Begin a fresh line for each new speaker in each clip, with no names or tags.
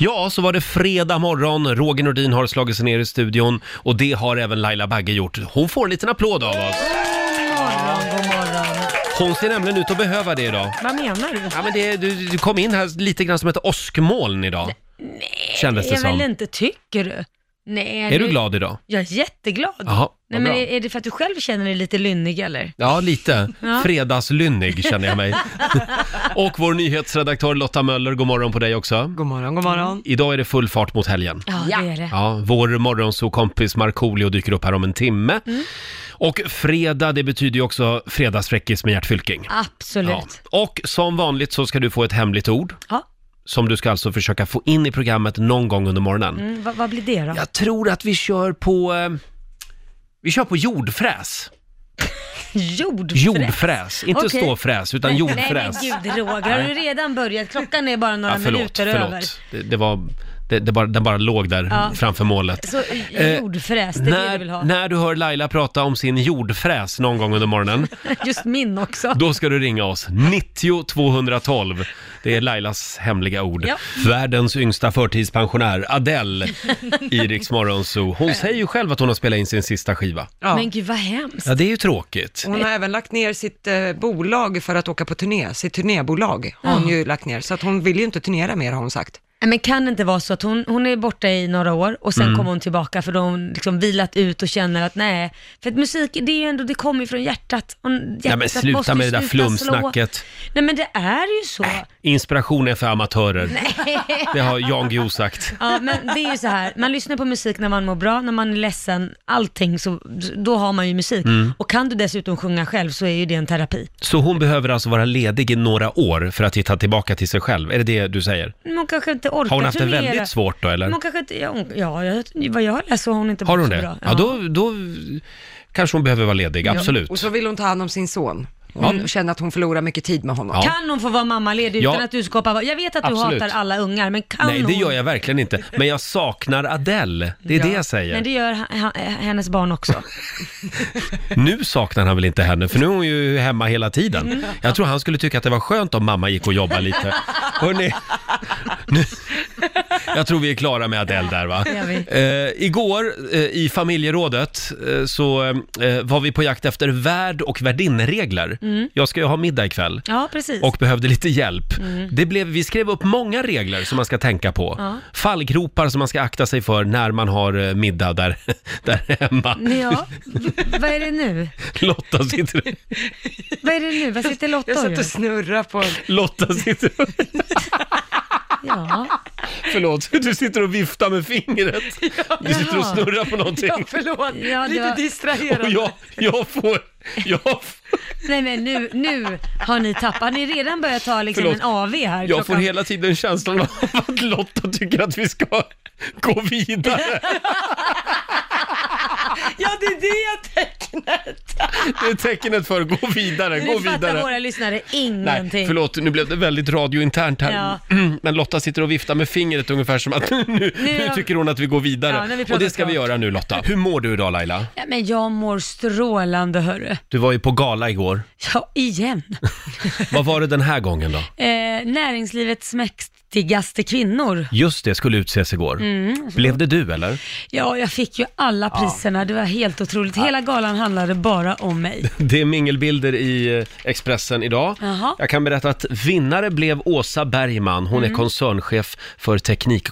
Ja, så var det fredag morgon. Roger Nordin har slagit sig ner i studion och det har även Laila Bagge gjort. Hon får en liten applåd av oss. Hon ser nämligen ut att behöva det idag.
Vad menar du?
Ja, men det, du, du kom in här lite grann som ett åskmoln idag. Nej, kändes det
jag
som.
väl inte, tycker du? Nej,
Är du glad idag?
Jag är jätteglad.
Jaha,
Nej,
vad
men
bra.
är är det för att du själv känner dig lite lynnig eller?
Ja, lite.
Ja.
Fredagslynnig känner jag mig. och vår nyhetsredaktör Lotta Möller, god morgon på dig också.
God morgon, god morgon.
Idag är det full fart mot helgen.
Ja, det är det.
Ja, vår morgonsokompis Markoolio dyker upp här om en timme.
Mm.
Och fredag, det betyder ju också fredagsfräckis med Gert Fylking. Ja.
Absolut.
Och som vanligt så ska du få ett hemligt ord
Ja.
som du ska alltså försöka få in i programmet någon gång under morgonen.
Mm, vad, vad blir det då?
Jag tror att vi kör på... Eh, vi kör på jordfräs.
Jordfräs.
Jordfräs. Inte
Okej.
ståfräs, utan jordfräs.
Nej, men gud Roger, har du redan börjat? Klockan är bara några
ja, förlåt,
minuter över.
förlåt. Det, det var... Det, det bara, den bara låg där
Ja.
framför målet.
Så eh, jordfräs, det är det du vill
när,
ha.
när du hör Laila prata om sin jordfräs någon gång under morgonen,
Just min också.
då ska du ringa oss. 90 212. Det är Lailas hemliga ord.
Ja.
Världens yngsta förtidspensionär, Adele, i Rix Morgon Zoo. Hon säger ju själv att hon har spelat in sin sista skiva.
Ja.
Men gud vad hemskt.
Ja, det är ju tråkigt.
Hon har även lagt ner sitt eh, bolag för att åka på turné, sitt turnébolag har hon ju lagt ner, så att hon vill ju inte turnera mer har hon sagt.
Nej, Men kan det inte vara så att hon, hon är borta i några år och sen
Mm.
kommer hon tillbaka för då har hon liksom vilat ut och känner att nej, för att musik det är ju ändå, det kommer ju från hjärtat. Hon, hjärtat
Ja, men
måste
sluta
ju
med det där
sluta
flumsnacket.
slå. Nej men det är ju så.
Inspiration är för amatörer. Det har Jan Guillou sagt.
Ja, men det är ju så här, man lyssnar på musik när man mår bra, när man är ledsen, allting, så, då har man ju musik.
Mm.
Och kan du dessutom sjunga själv så är ju det en terapi.
Så hon behöver alltså vara ledig i några år för att hitta tillbaka till sig själv. Är det det du säger?
Men hon kanske inte orkar
Har hon haft det
turnera.
väldigt svårt då, eller?
Men Hon kanske inte, ja, hon, ja jag, vad jag har läst så har hon inte
Har
mått
hon
så
det?
bra.
Ja, då, då kanske hon behöver vara ledig, absolut.
Och så vill hon ta hand om sin son. Hon
Mm.
känner att hon förlorar mycket tid med honom.
Ja.
Kan hon få vara mammaledig
Ja.
utan att du skapar... Jag vet att du
Absolut.
hatar alla ungar, men kan
Nej, det
hon?
gör jag verkligen inte. Men jag saknar Adele, det är det jag säger.
Men det gör h- h- hennes barn också.
Nu saknar han väl inte henne, för nu är hon ju hemma hela
Mm.
tiden. Jag tror han skulle tycka att det var skönt om mamma gick och jobbade lite. Hörrni, nu, jag tror vi är klara med Adele där va?
det är vi.
Eh, igår eh, i familjerådet eh, så eh, var vi på jakt efter värd och värdinneregler. Jag ska ju ha middag ikväll.
Mm. Ja, precis. Mm.
och behövde lite hjälp. Det blev, vi skrev upp många regler som man ska tänka på.
Ja.
Fallgropar som man ska akta sig för när man har eh, middag där, där hemma.
Ja, v- vad är det nu?
Lotta sitter,
Vad är det nu? Vad sitter Lotta
Jag
och
satt
gör?
och snurrade på...
Lotta sitter,
Ja.
förlåt, du sitter och viftar med fingret. Du sitter och
Jaha.
snurrar på
Ja,
någonting.
förlåt,
Ja, det
lite
var-
Och
distraherad.
jag, jag får, jag, f-
Nej men nu, nu har ni tappat, har ni redan börjat ta liksom
Förlåt.
en AV här?
jag får
klockan-
hela tiden känslan av att Lotta tycker att vi ska gå vidare.
Ja, det är det jag tänker.
Det är tecknet för gå vidare, gå
Nu fattar
vidare.
våra lyssnare
Nej,
ingenting.
förlåt, nu blev det väldigt radiointernt här.
Ja.
Men Lotta sitter och viftar med fingret ungefär som att nu, nu,
jag-
tycker hon att vi går
Ja,
vidare.
när vi
och
pratar
det ska vi
klart.
göra nu Lotta. Hur mår du idag Laila?
Ja, men jag mår strålande hörru.
Du var ju på gala igår.
Ja, igen.
Vad var det den här gången då?
eh, näringslivets mäktigaste kvinnor.
Just det, skulle utses igår.
Mm.
Blev det du eller?
Ja, jag fick ju alla priserna. Det var helt otroligt. Hela galan handlade bara om mig.
Det är mingelbilder i eh, Expressen idag.
Jaha.
Jag kan berätta att vinnare blev Åsa Bergman. Hon
Mm.
är koncernchef för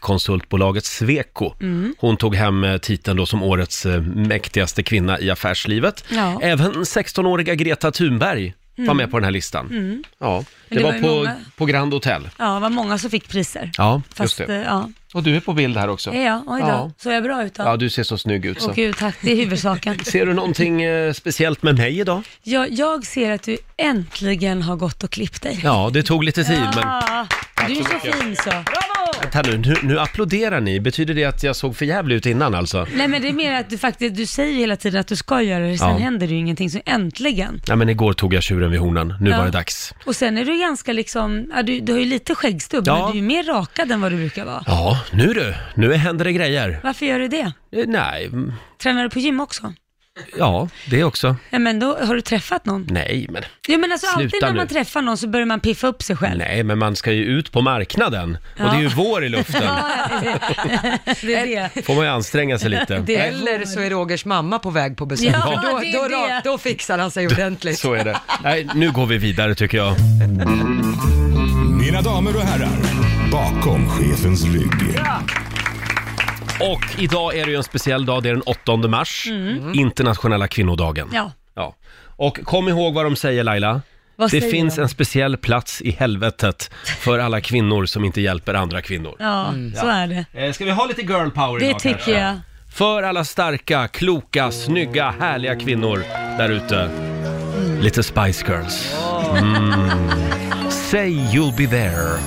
teknikkonsultbolaget Sweco.
Mm.
Hon tog hem eh, titeln då som årets eh, mäktigaste kvinna i affärslivet.
Ja. Mm.
Även 16-åriga Greta Thunberg var med på den här listan. Ja, det,
Men det
var,
var ju
på,
många.
på Grand Hotel.
Mm. Ja, det var många som fick priser.
Ja,
Fast,
just det.
eh, ja.
Och du är på bild här också.
Är jag? Oj då.
Ja.
Såg jag bra ut då?
Ja, du ser så snygg ut. Så.
Åh gud, tack. Det är huvudsaken.
Ser du någonting eh, speciellt med mig idag?
jag, jag ser att du äntligen har gått och klippt dig.
Ja, det tog lite tid, men...
Ah, du är så fin så.
Vänta nu, nu, nu applåderar ni. Betyder det att jag såg för jävligt ut innan alltså?
Nej men det är mer att du faktiskt, du säger ju hela tiden att du ska göra det, sen
Ja.
händer det ju ingenting, så äntligen.
Nej men igår tog jag tjuren vid hornen. Nu
Ja.
var det dags.
Och sen är du ganska liksom, ja, du, du har ju lite skäggstubb,
Ja.
men du är ju mer rakad än vad du brukar vara.
Ja, nu du. Nu händer det grejer.
Varför gör du det?
Eh, Nej, mm,
Tränar du på gym också?
Ja, det också.
Ja, men då har du träffat någon?
Nej, men...
Jo men alltså alltid
Sluta
när
nu.
man träffar någon så börjar man piffa upp sig själv.
Nej, men man ska ju ut på marknaden. Och det är ju vår i luften.
Ja, det är det.
Får man ju anstänga sig lite.
Det-
Nej,
Eller så är Rogers mamma på väg på besök.
Ja,
För då,
det är
då,
det.
ra- då fixar han sig ordentligt.
Så är det. Nej, nu går vi vidare tycker jag.
Mina damer och herrar, bakom chefens rygg.
Och idag är det ju en speciell dag, det är den 8 mars. Internationella kvinnodagen.
Mm. Ja.
Ja. Och kom ihåg vad de säger Laila.
Vad
det
säger
finns
de?
en speciell plats i helvetet för alla kvinnor som inte hjälper andra kvinnor.
Ja,
Mm.
så är det.
Eh, ska vi ha lite girl power
Det
idag
tycker
kanske?
jag.
För alla starka, kloka, snygga, härliga kvinnor där ute. Lite Spice Girls. Mm. Say you'll be there.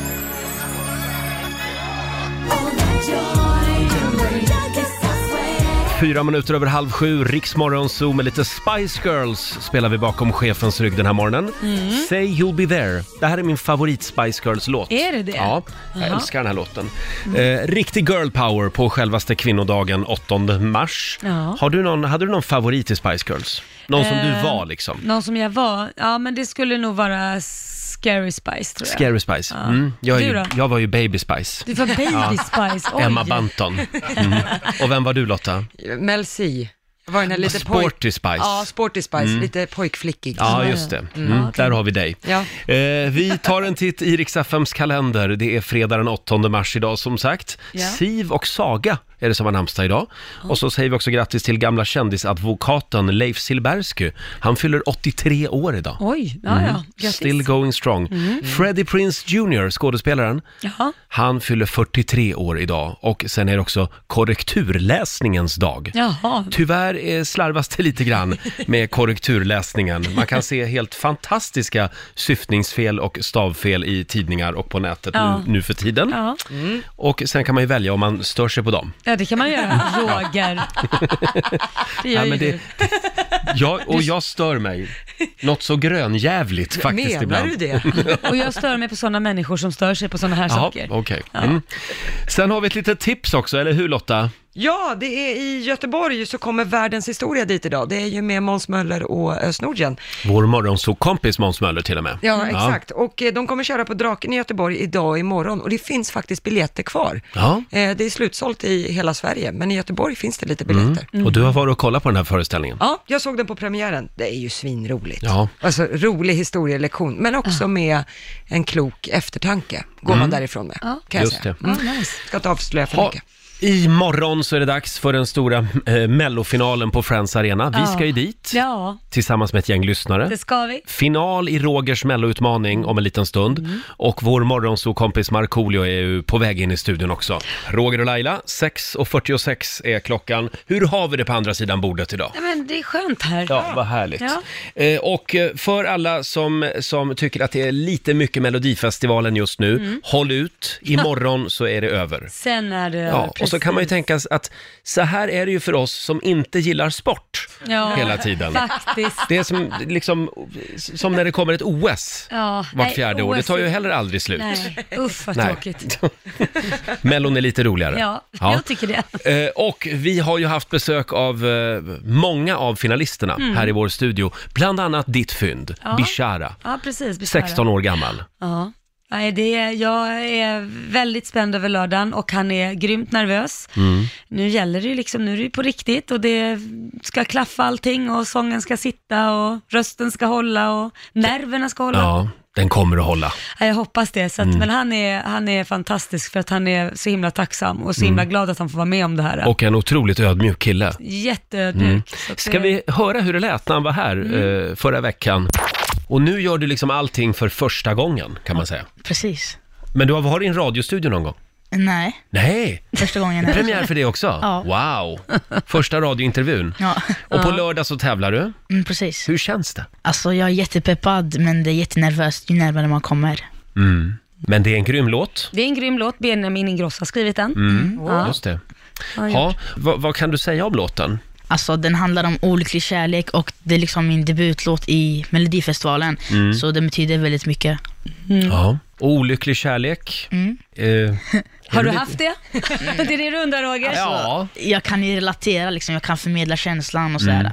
Fyra minuter över halv sju, Riksmorgon Zoo med lite Spice Girls spelar vi bakom chefens rygg den här morgonen.
Mm.
Say you'll be there. Det här är min favorit Spice Girls-låt.
Är det det?
Ja, jag
Jaha.
älskar den här låten. Eh, riktig girl power på självaste kvinnodagen 8 mars.
Ja.
Har du någon, hade du någon favorit i Spice Girls? Någon som
Eh,
du var liksom?
Någon som jag var? Ja, men det skulle nog vara Scary Spice tror jag.
Scary Spice. Mm. Jag, är
Du
ju,
då?
jag var ju Baby Spice.
Du var Baby Spice, oj.
Emma Banton. Mm. Och vem var du Lotta?
Mel C. Var den här lite
Sporty Spice. Mm.
Ja, Sporty Spice, lite pojkflickig.
Ja,
ja.
just det. Mm,
Ja, okej.
Där har vi dig.
Ja.
Eh, vi tar en titt i Riks-FMs kalender. Det är fredag den 8 mars idag som sagt.
Ja.
Siv och Saga är det som har namnsdag idag. Och så säger vi också grattis till gamla kändisadvokaten Leif Silbersky. Han fyller 83 år idag. Mhm.
Oj, ja, ja. Grattis.
Mm. Still
Mhm.
going strong. Freddie Prince Jr, skådespelaren,
Jaha.
han fyller 43 år idag. Och sen är det också korrekturläsningens dag.
Jaha.
Tyvärr eh, slarvas det lite grann med korrekturläsningen. Man kan se helt fantastiska syftningsfel och stavfel i tidningar och på nätet
Ja.
nu, nu för tiden.
Ja.
Och sen kan man ju välja om man stör sig på dem.
ja, det kan man göra. Roger. Det gör
Ja,
ju
men
du.
det, jag, och jag stör mig något så grönjävligt faktiskt
Menar
ibland.
du det?
Och jag stör mig på sådana människor som stör sig på sådana här
Jaha,
saker.
okej. Mm. Sen har vi ett litet tips också, eller hur Lotta?
Ja, det är i Göteborg så kommer världens historia dit idag. Det är ju med Måns Möller och Özz Nordgren.
Vår morgonsåkompis Måns Möller till och med.
Ja, exakt. Och eh, de kommer köra på Draken i Göteborg idag och imorgon och det finns faktiskt biljetter kvar.
Ja.
Eh, Det är slutsålt i hela Sverige, men i Göteborg finns det lite biljetter.
Mm. Och du har varit och kollat på den här föreställningen.
Ja, jag såg den på premiären. Det är ju svinroligt.
Ja.
Alltså rolig historielektion, men också med en klok eftertanke går man därifrån med, kan
Mm. Just
jag säga. Mm.
det.
Ja, nice.
Ska inte avslöja för
Ja,
mycket.
imorgon så är det dags för den stora eh, mellofinalen på Friends Arena. Vi
Ja.
ska ju dit
Ja,
tillsammans med ett gäng lyssnare.
det ska vi. Mm.
Final i Rogers melloutmaning om en liten stund. Och vår morgonsokompis Markoolio är ju på väg in i studion också. Roger och Laila, 6.46 är klockan. Hur har vi det på andra sidan bordet idag?
Ja, men det är skönt här.
Ja, vad härligt.
Ja.
Eh, Och eh, för alla som, som tycker att det är lite mycket Melodifestivalen just nu,
Mm.
håll ut. Imorgon så är det över.
Sen är det
Ja, och så kan man ju
precis.
tänka sig att så här är det ju för oss som inte gillar sport
ja,
hela tiden.
Faktiskt.
Det är som, liksom, som när det kommer ett OS
Ja,
vart
nej,
fjärde år. Det tar ju heller aldrig slut.
Nej, usch vad
Nej.
tråkigt.
Mellon är lite roligare.
Ja,
Ja.
jag tycker det.
Eh, Och vi har ju haft besök av eh, många av finalisterna här i vår studio. Bland annat ditt fynd, Bishara,
Mm. Ja, precis. besvära.
16 år gammal.
Ja. Nej, det är, jag är väldigt spänd över lördagen och han är grymt nervös.
Mm.
Nu gäller det ju liksom, nu är det ju på riktigt och det ska klaffa allting och sången ska sitta och rösten ska hålla och nerverna ska hålla.
Ja, Mm. den kommer att hålla.
Ja, Jag hoppas det. Så att, Men han är, han är fantastisk för att han är så himla tacksam och så himla glad att han får vara med om det här.
Mm. Och en otroligt ödmjuk kille.
Jätteödmjuk. Så att
Ska
det-
vi höra hur det lät när han var här eh, förra veckan? Och nu gör du liksom allting för första gången, kan man säga.
Precis.
Men du har varit i en radiostudio någon gång?
Nej,
Nej,
första gången. här.
premiär för det också?
Ja.
Wow! Första radiointervjun.
Ja,
Och på lördag så tävlar du.
mm, precis.
Hur känns det?
Alltså jag är jättepeppad, men det är jättenervöst ju närmare man kommer.
Mm. Men det är en grym låt. Mm.
Det är en grym låt, Benjamin Ingrosso har skrivit den.
Mm.
Mm. Ja.
Just det.
han
Ja, vad, vad kan du säga om låten?
Alltså den handlar om olycklig kärlek och det är liksom min debutlåt i Melodifestivalen,
Mm.
så det betyder väldigt mycket.
Mm.
Ja. Olycklig kärlek. Eh,
Har du haft det?
Mm.
det är det du undrar Roger?
Alltså,
ja.
Jag kan ju relatera, liksom, jag kan förmedla känslan och sådär.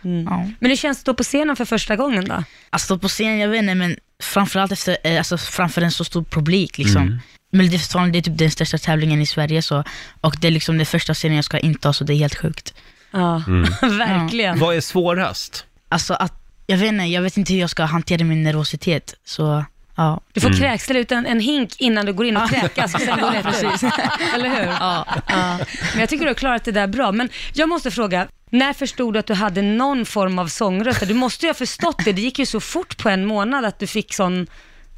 Ja.
Mm. Men hur känns det att stå på scenen för första gången då?
Att stå på scen, jag vet inte, men framförallt efter, eh, alltså framför en så stor publik. Liksom. Melodifestivalen det är typ den största tävlingen i Sverige, så, och det är liksom den första scenen jag ska inta, så det är helt sjukt.
Ja,
Mm.
verkligen.
Vad är svårast?
Alltså att, jag vet inte, jag vet inte hur jag ska hantera min nervositet, så ja.
Du får kräksla ut en, en hink innan du går in och kräkas och sen går det ut. Eller hur?
Ja.
Ja. Men jag tycker du har klarat det där bra. Men jag måste fråga, när förstod du att du hade någon form av sångröst? Du måste ju ha förstått det, det gick ju så fort på en månad att du fick sån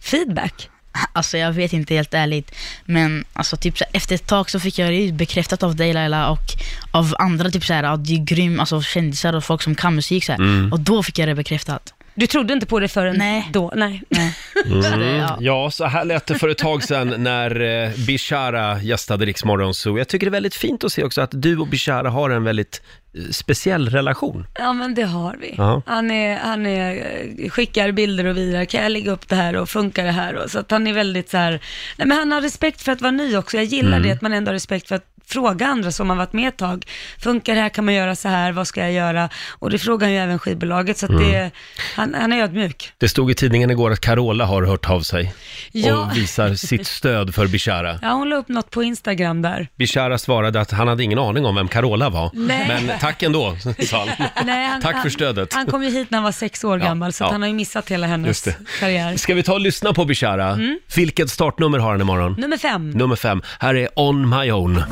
feedback.
Alltså jag vet inte helt ärligt, men alltså, typ, så här, efter ett tag så fick jag det ju bekräftat av dig Laila och av andra typ så här, ja, du är grym, alltså kändisar och folk som kan musik så här. Och då fick jag det bekräftat.
Du trodde inte på det förrän
Nej.
då? Nej.
Nej. Så det, ja.
Mm. Ja, så här lät det för ett tag sedan när eh, Bishara gästade Rix Morgon Zoo. Jag tycker det är väldigt fint att se också att du och Bishara har en väldigt eh, speciell relation.
Ja men det har vi.
Ja.
Han, är, han är, eh, skickar bilder och vidare, kan jag lägga upp det här och funkar det här? Och, så att han är väldigt så här, nej men han har respekt för att vara ny också. Jag gillar
Mm.
det att man ändå har respekt för att fråga andra som har varit med ett tag. Funkar det här, kan man göra så här, vad ska jag göra? Och det frågar han ju även skivbolaget, så att det,
Mm.
han, han är ödmjuk.
Det stod i tidningen igår att Carola har hört av sig
Ja.
och visar sitt stöd för Bishara.
Ja, hon la upp något på Instagram där.
Bishara svarade att han hade ingen aning om vem Carola var,
Nej.
men tack ändå, sa han.
Nej, han,
Tack för stödet.
Han, han kom ju hit när han var sex år
Ja,
gammal, så att
ja.
han har ju missat hela
Just
hennes
det.
karriär.
Ska vi ta och lyssna på Bishara? Vilket startnummer har han imorgon?
Mm. Nummer fem.
Nummer fem. Här är On My Own.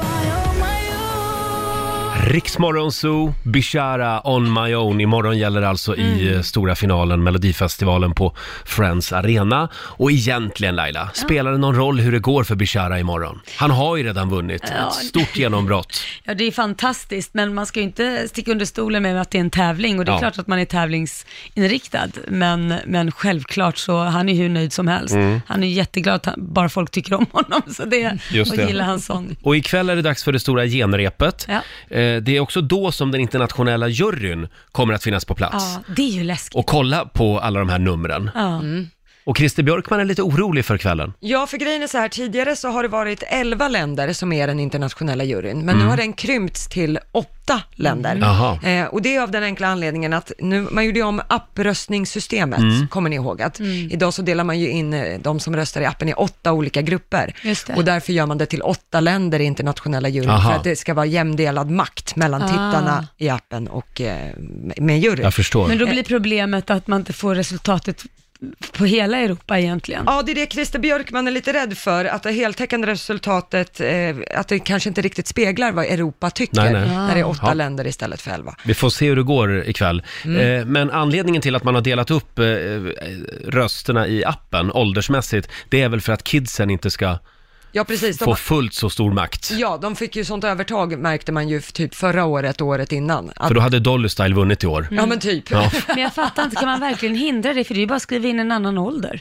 Riksmorgon Zoo, Bishara On My Own. Imorgon gäller alltså
Mm.
i eh, stora finalen, Melodifestivalen på Friends Arena. Och egentligen Laila, spelar det någon roll hur det går för Bishara imorgon? Han har ju redan vunnit ett stort genombrott.
Ja, det är fantastiskt, men man ska ju inte sticka under stolen med att det är en tävling och det är
Ja.
klart att man är tävlingsinriktad, men, men självklart så, han är hur nöjd som helst.
Mm.
Han är jätteglad att han, bara folk tycker om honom, så det,
Just
och
det.
gillar hans sång.
Och ikväll är det dags för det stora genrepet.
Ja.
Eh, Det är också då som den internationella juryn kommer att finnas på plats.
Ja, det är ju läskigt.
Och kolla på alla de här numren.
Ja.
Mm.
Och Christer Björkman är lite orolig för kvällen.
Ja, för grejen är så här, tidigare så har det varit 11 länder som är den internationella juryn, men nu har den krympts till åtta länder.
Mm. Jaha.
Eh, och det är av den enkla anledningen att nu, man gjorde ju om appröstningssystemet,
Mm.
kommer ni ihåg att
Mm.
idag så delar man ju in eh, de som röstar i appen i åtta olika grupper.
Just det.
Och därför gör man det till åtta länder i internationella juryn,
Aha.
för att det ska vara jämndelad makt mellan tittarna i appen och eh, med juryn.
Jag förstår.
Ah. Men då blir problemet att man inte får resultatet på hela Europa egentligen.
Ja, det är det Christer Björkman är lite rädd för, att det heltäckande resultatet, eh, att det kanske inte riktigt speglar vad Europa tycker,
Nej, nej.
när det är åtta
Ja.
länder istället för elva.
Vi får se hur det går ikväll.
Mm.
Eh, men anledningen till att man har delat upp eh, eh, rösterna i appen åldersmässigt, det är väl för att kidsen inte ska
Ja, precis. De,
få fullt så stor makt.
ja, de fick ju sånt övertag märkte man ju f- typ förra året och året innan. Att,
För då hade Dolly Style vunnit i år.
Ja, men typ.
Ja.
Mm. Men jag fattar inte, kan man verkligen hindra det? För det är ju bara att skriva in en annan ålder.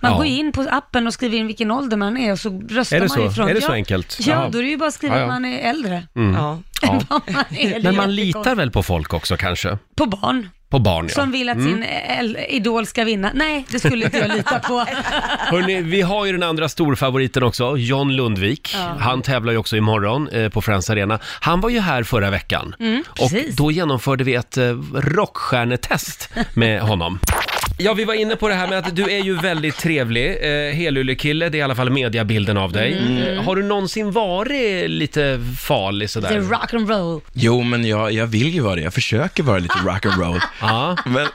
Man
Ja.
går in på appen och skriver in vilken ålder man är och så röstar
Är det
man
så?
ifrån.
Är det
ja,
så enkelt?
Ja,
Jaha.
då är det ju bara att skriva
Ja, ja.
att man är äldre.
Ja.
Mm. Ja.
Vad man är. Det är
Men man
jättekonstigt.
litar väl på folk också kanske?
På barn
På barn ja. Mm.
som vill att sin äl- idol ska vinna. Nej, det skulle inte jag lita på.
Hörrni, vi har ju den andra storfavoriten också, John Lundvik. Han tävlar ju också imorgon eh, på Friends Arena. Han var ju här förra veckan och
Mm. precis.
då genomförde vi ett eh, rockstjärnetest med honom. Ja, vi var inne på det här med att du är ju väldigt trevlig, eh, helyllekille, det är i alla fall mediabilden av dig.
Mm.
Eh, har du någonsin varit lite farlig sådär?
The rock and roll.
Jo, men jag, jag vill ju vara det. Jag försöker vara lite rock'n'roll.
Ja.
Men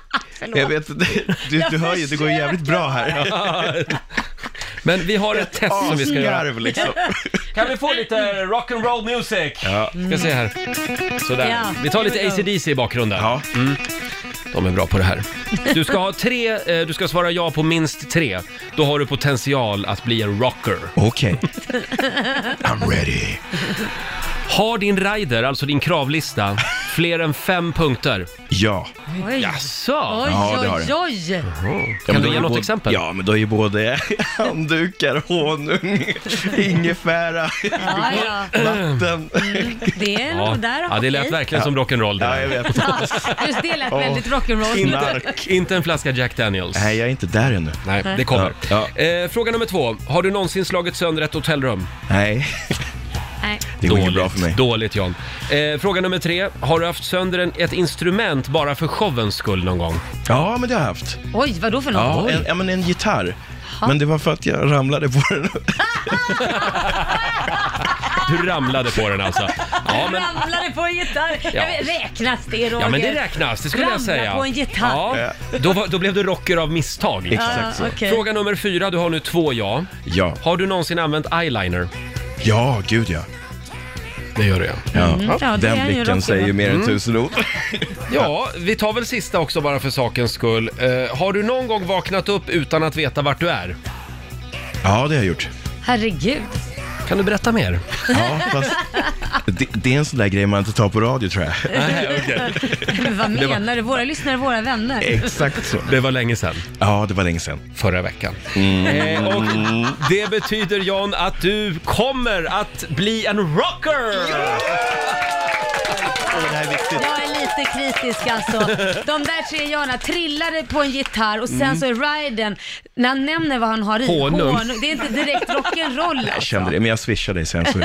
jag vet, du, du hör ju, det går ju jävligt bra här.
Men vi har ett test som vi ska göra.
Asgarv liksom.
Kan vi få lite rock'n'roll music? Ja. Ska se
Mm.
här. Sådär.
Ja.
Vi tar lite ACDC i bakgrunden. Mm.
Ja.
De är bra på det här. Du ska ha tre, eh, du ska svara ja på minst tre. Då har du potential att bli en rocker.
Okej. I'm ready.
Har din rider, alltså din kravlista, fler än fem punkter?
Ja.
Oj,
Jaså?
oj,
Ja, det har
oj. oj.
Ja, men
du
då är
ge
ju
något
både-
exempel?
Ja, men då är ju både handdukar, honung, ingefära,
Ja, ja.
vatten.
Det är
Ja.
nog där.
ja, det lät
okej.
verkligen som rock'n'roll.
Ja,
där.
jag vet.
Just det lät
Ja.
väldigt rock'n'roll.
Knark.
Inte en flaska Jack Daniels.
Nej, jag är inte där ännu.
Nej, det kommer.
Ja.
Eh, fråga nummer två. Har du någonsin slagit sönder ett hotellrum?
Nej.
Nej.
Det går inget bra för mig.
Dåligt John. Eh, fråga nummer tre. Har du haft sönder en, ett instrument bara för showens skull någon gång?
Ja, men det har jag haft.
Oj, vad då för
Ja,
något?
en, ja, men en gitarr. Men det var för att jag ramlade på den.
Du ramlade på den alltså. Ja, men,
Ramlade på en gitarr.
Ja.
Jag vet, Räknas det Roger?
ja, men det räknas, det skulle jag
Ramla
säga.
på en gitarr.
Ja, då, var- då blev du rocker av misstag.
Exakt så.
Ah, okej.
Fråga nummer fyra. Du har nu två ja.
Ja,
Har du någonsin använt eyeliner?
ja gud ja.
Det gör jag.
ja.
Mm. ja, det är
den
ju rockig,
blicken säger
va?
ju mer än tusen ord.
Mm. Ja, vi tar väl sista också bara för sakens skull. Eh, har du någon gång vaknat upp utan att veta vart du är?
Ja, det har jag gjort.
Herregud.
Kan du berätta mer?
Ja, fast det, det är en sån där grej man inte tar på radio tror jag.
Men vad menar du? Våra lyssnare, våra vänner.
Exakt så.
Det var länge sedan.
Ja, det var länge sedan. Mm.
förra veckan. Eh, och det betyder John att du kommer att bli en rocker!
det här är viktigt.
Jag är lite kritisk alltså. De där tre Jana trillade på en gitarr och sen så är Ryden, när han nämner vad han har i,
Honung.
Det är inte direkt rock'n'roll
Jag
alltså.
kände det, men jag swishar dig sen så.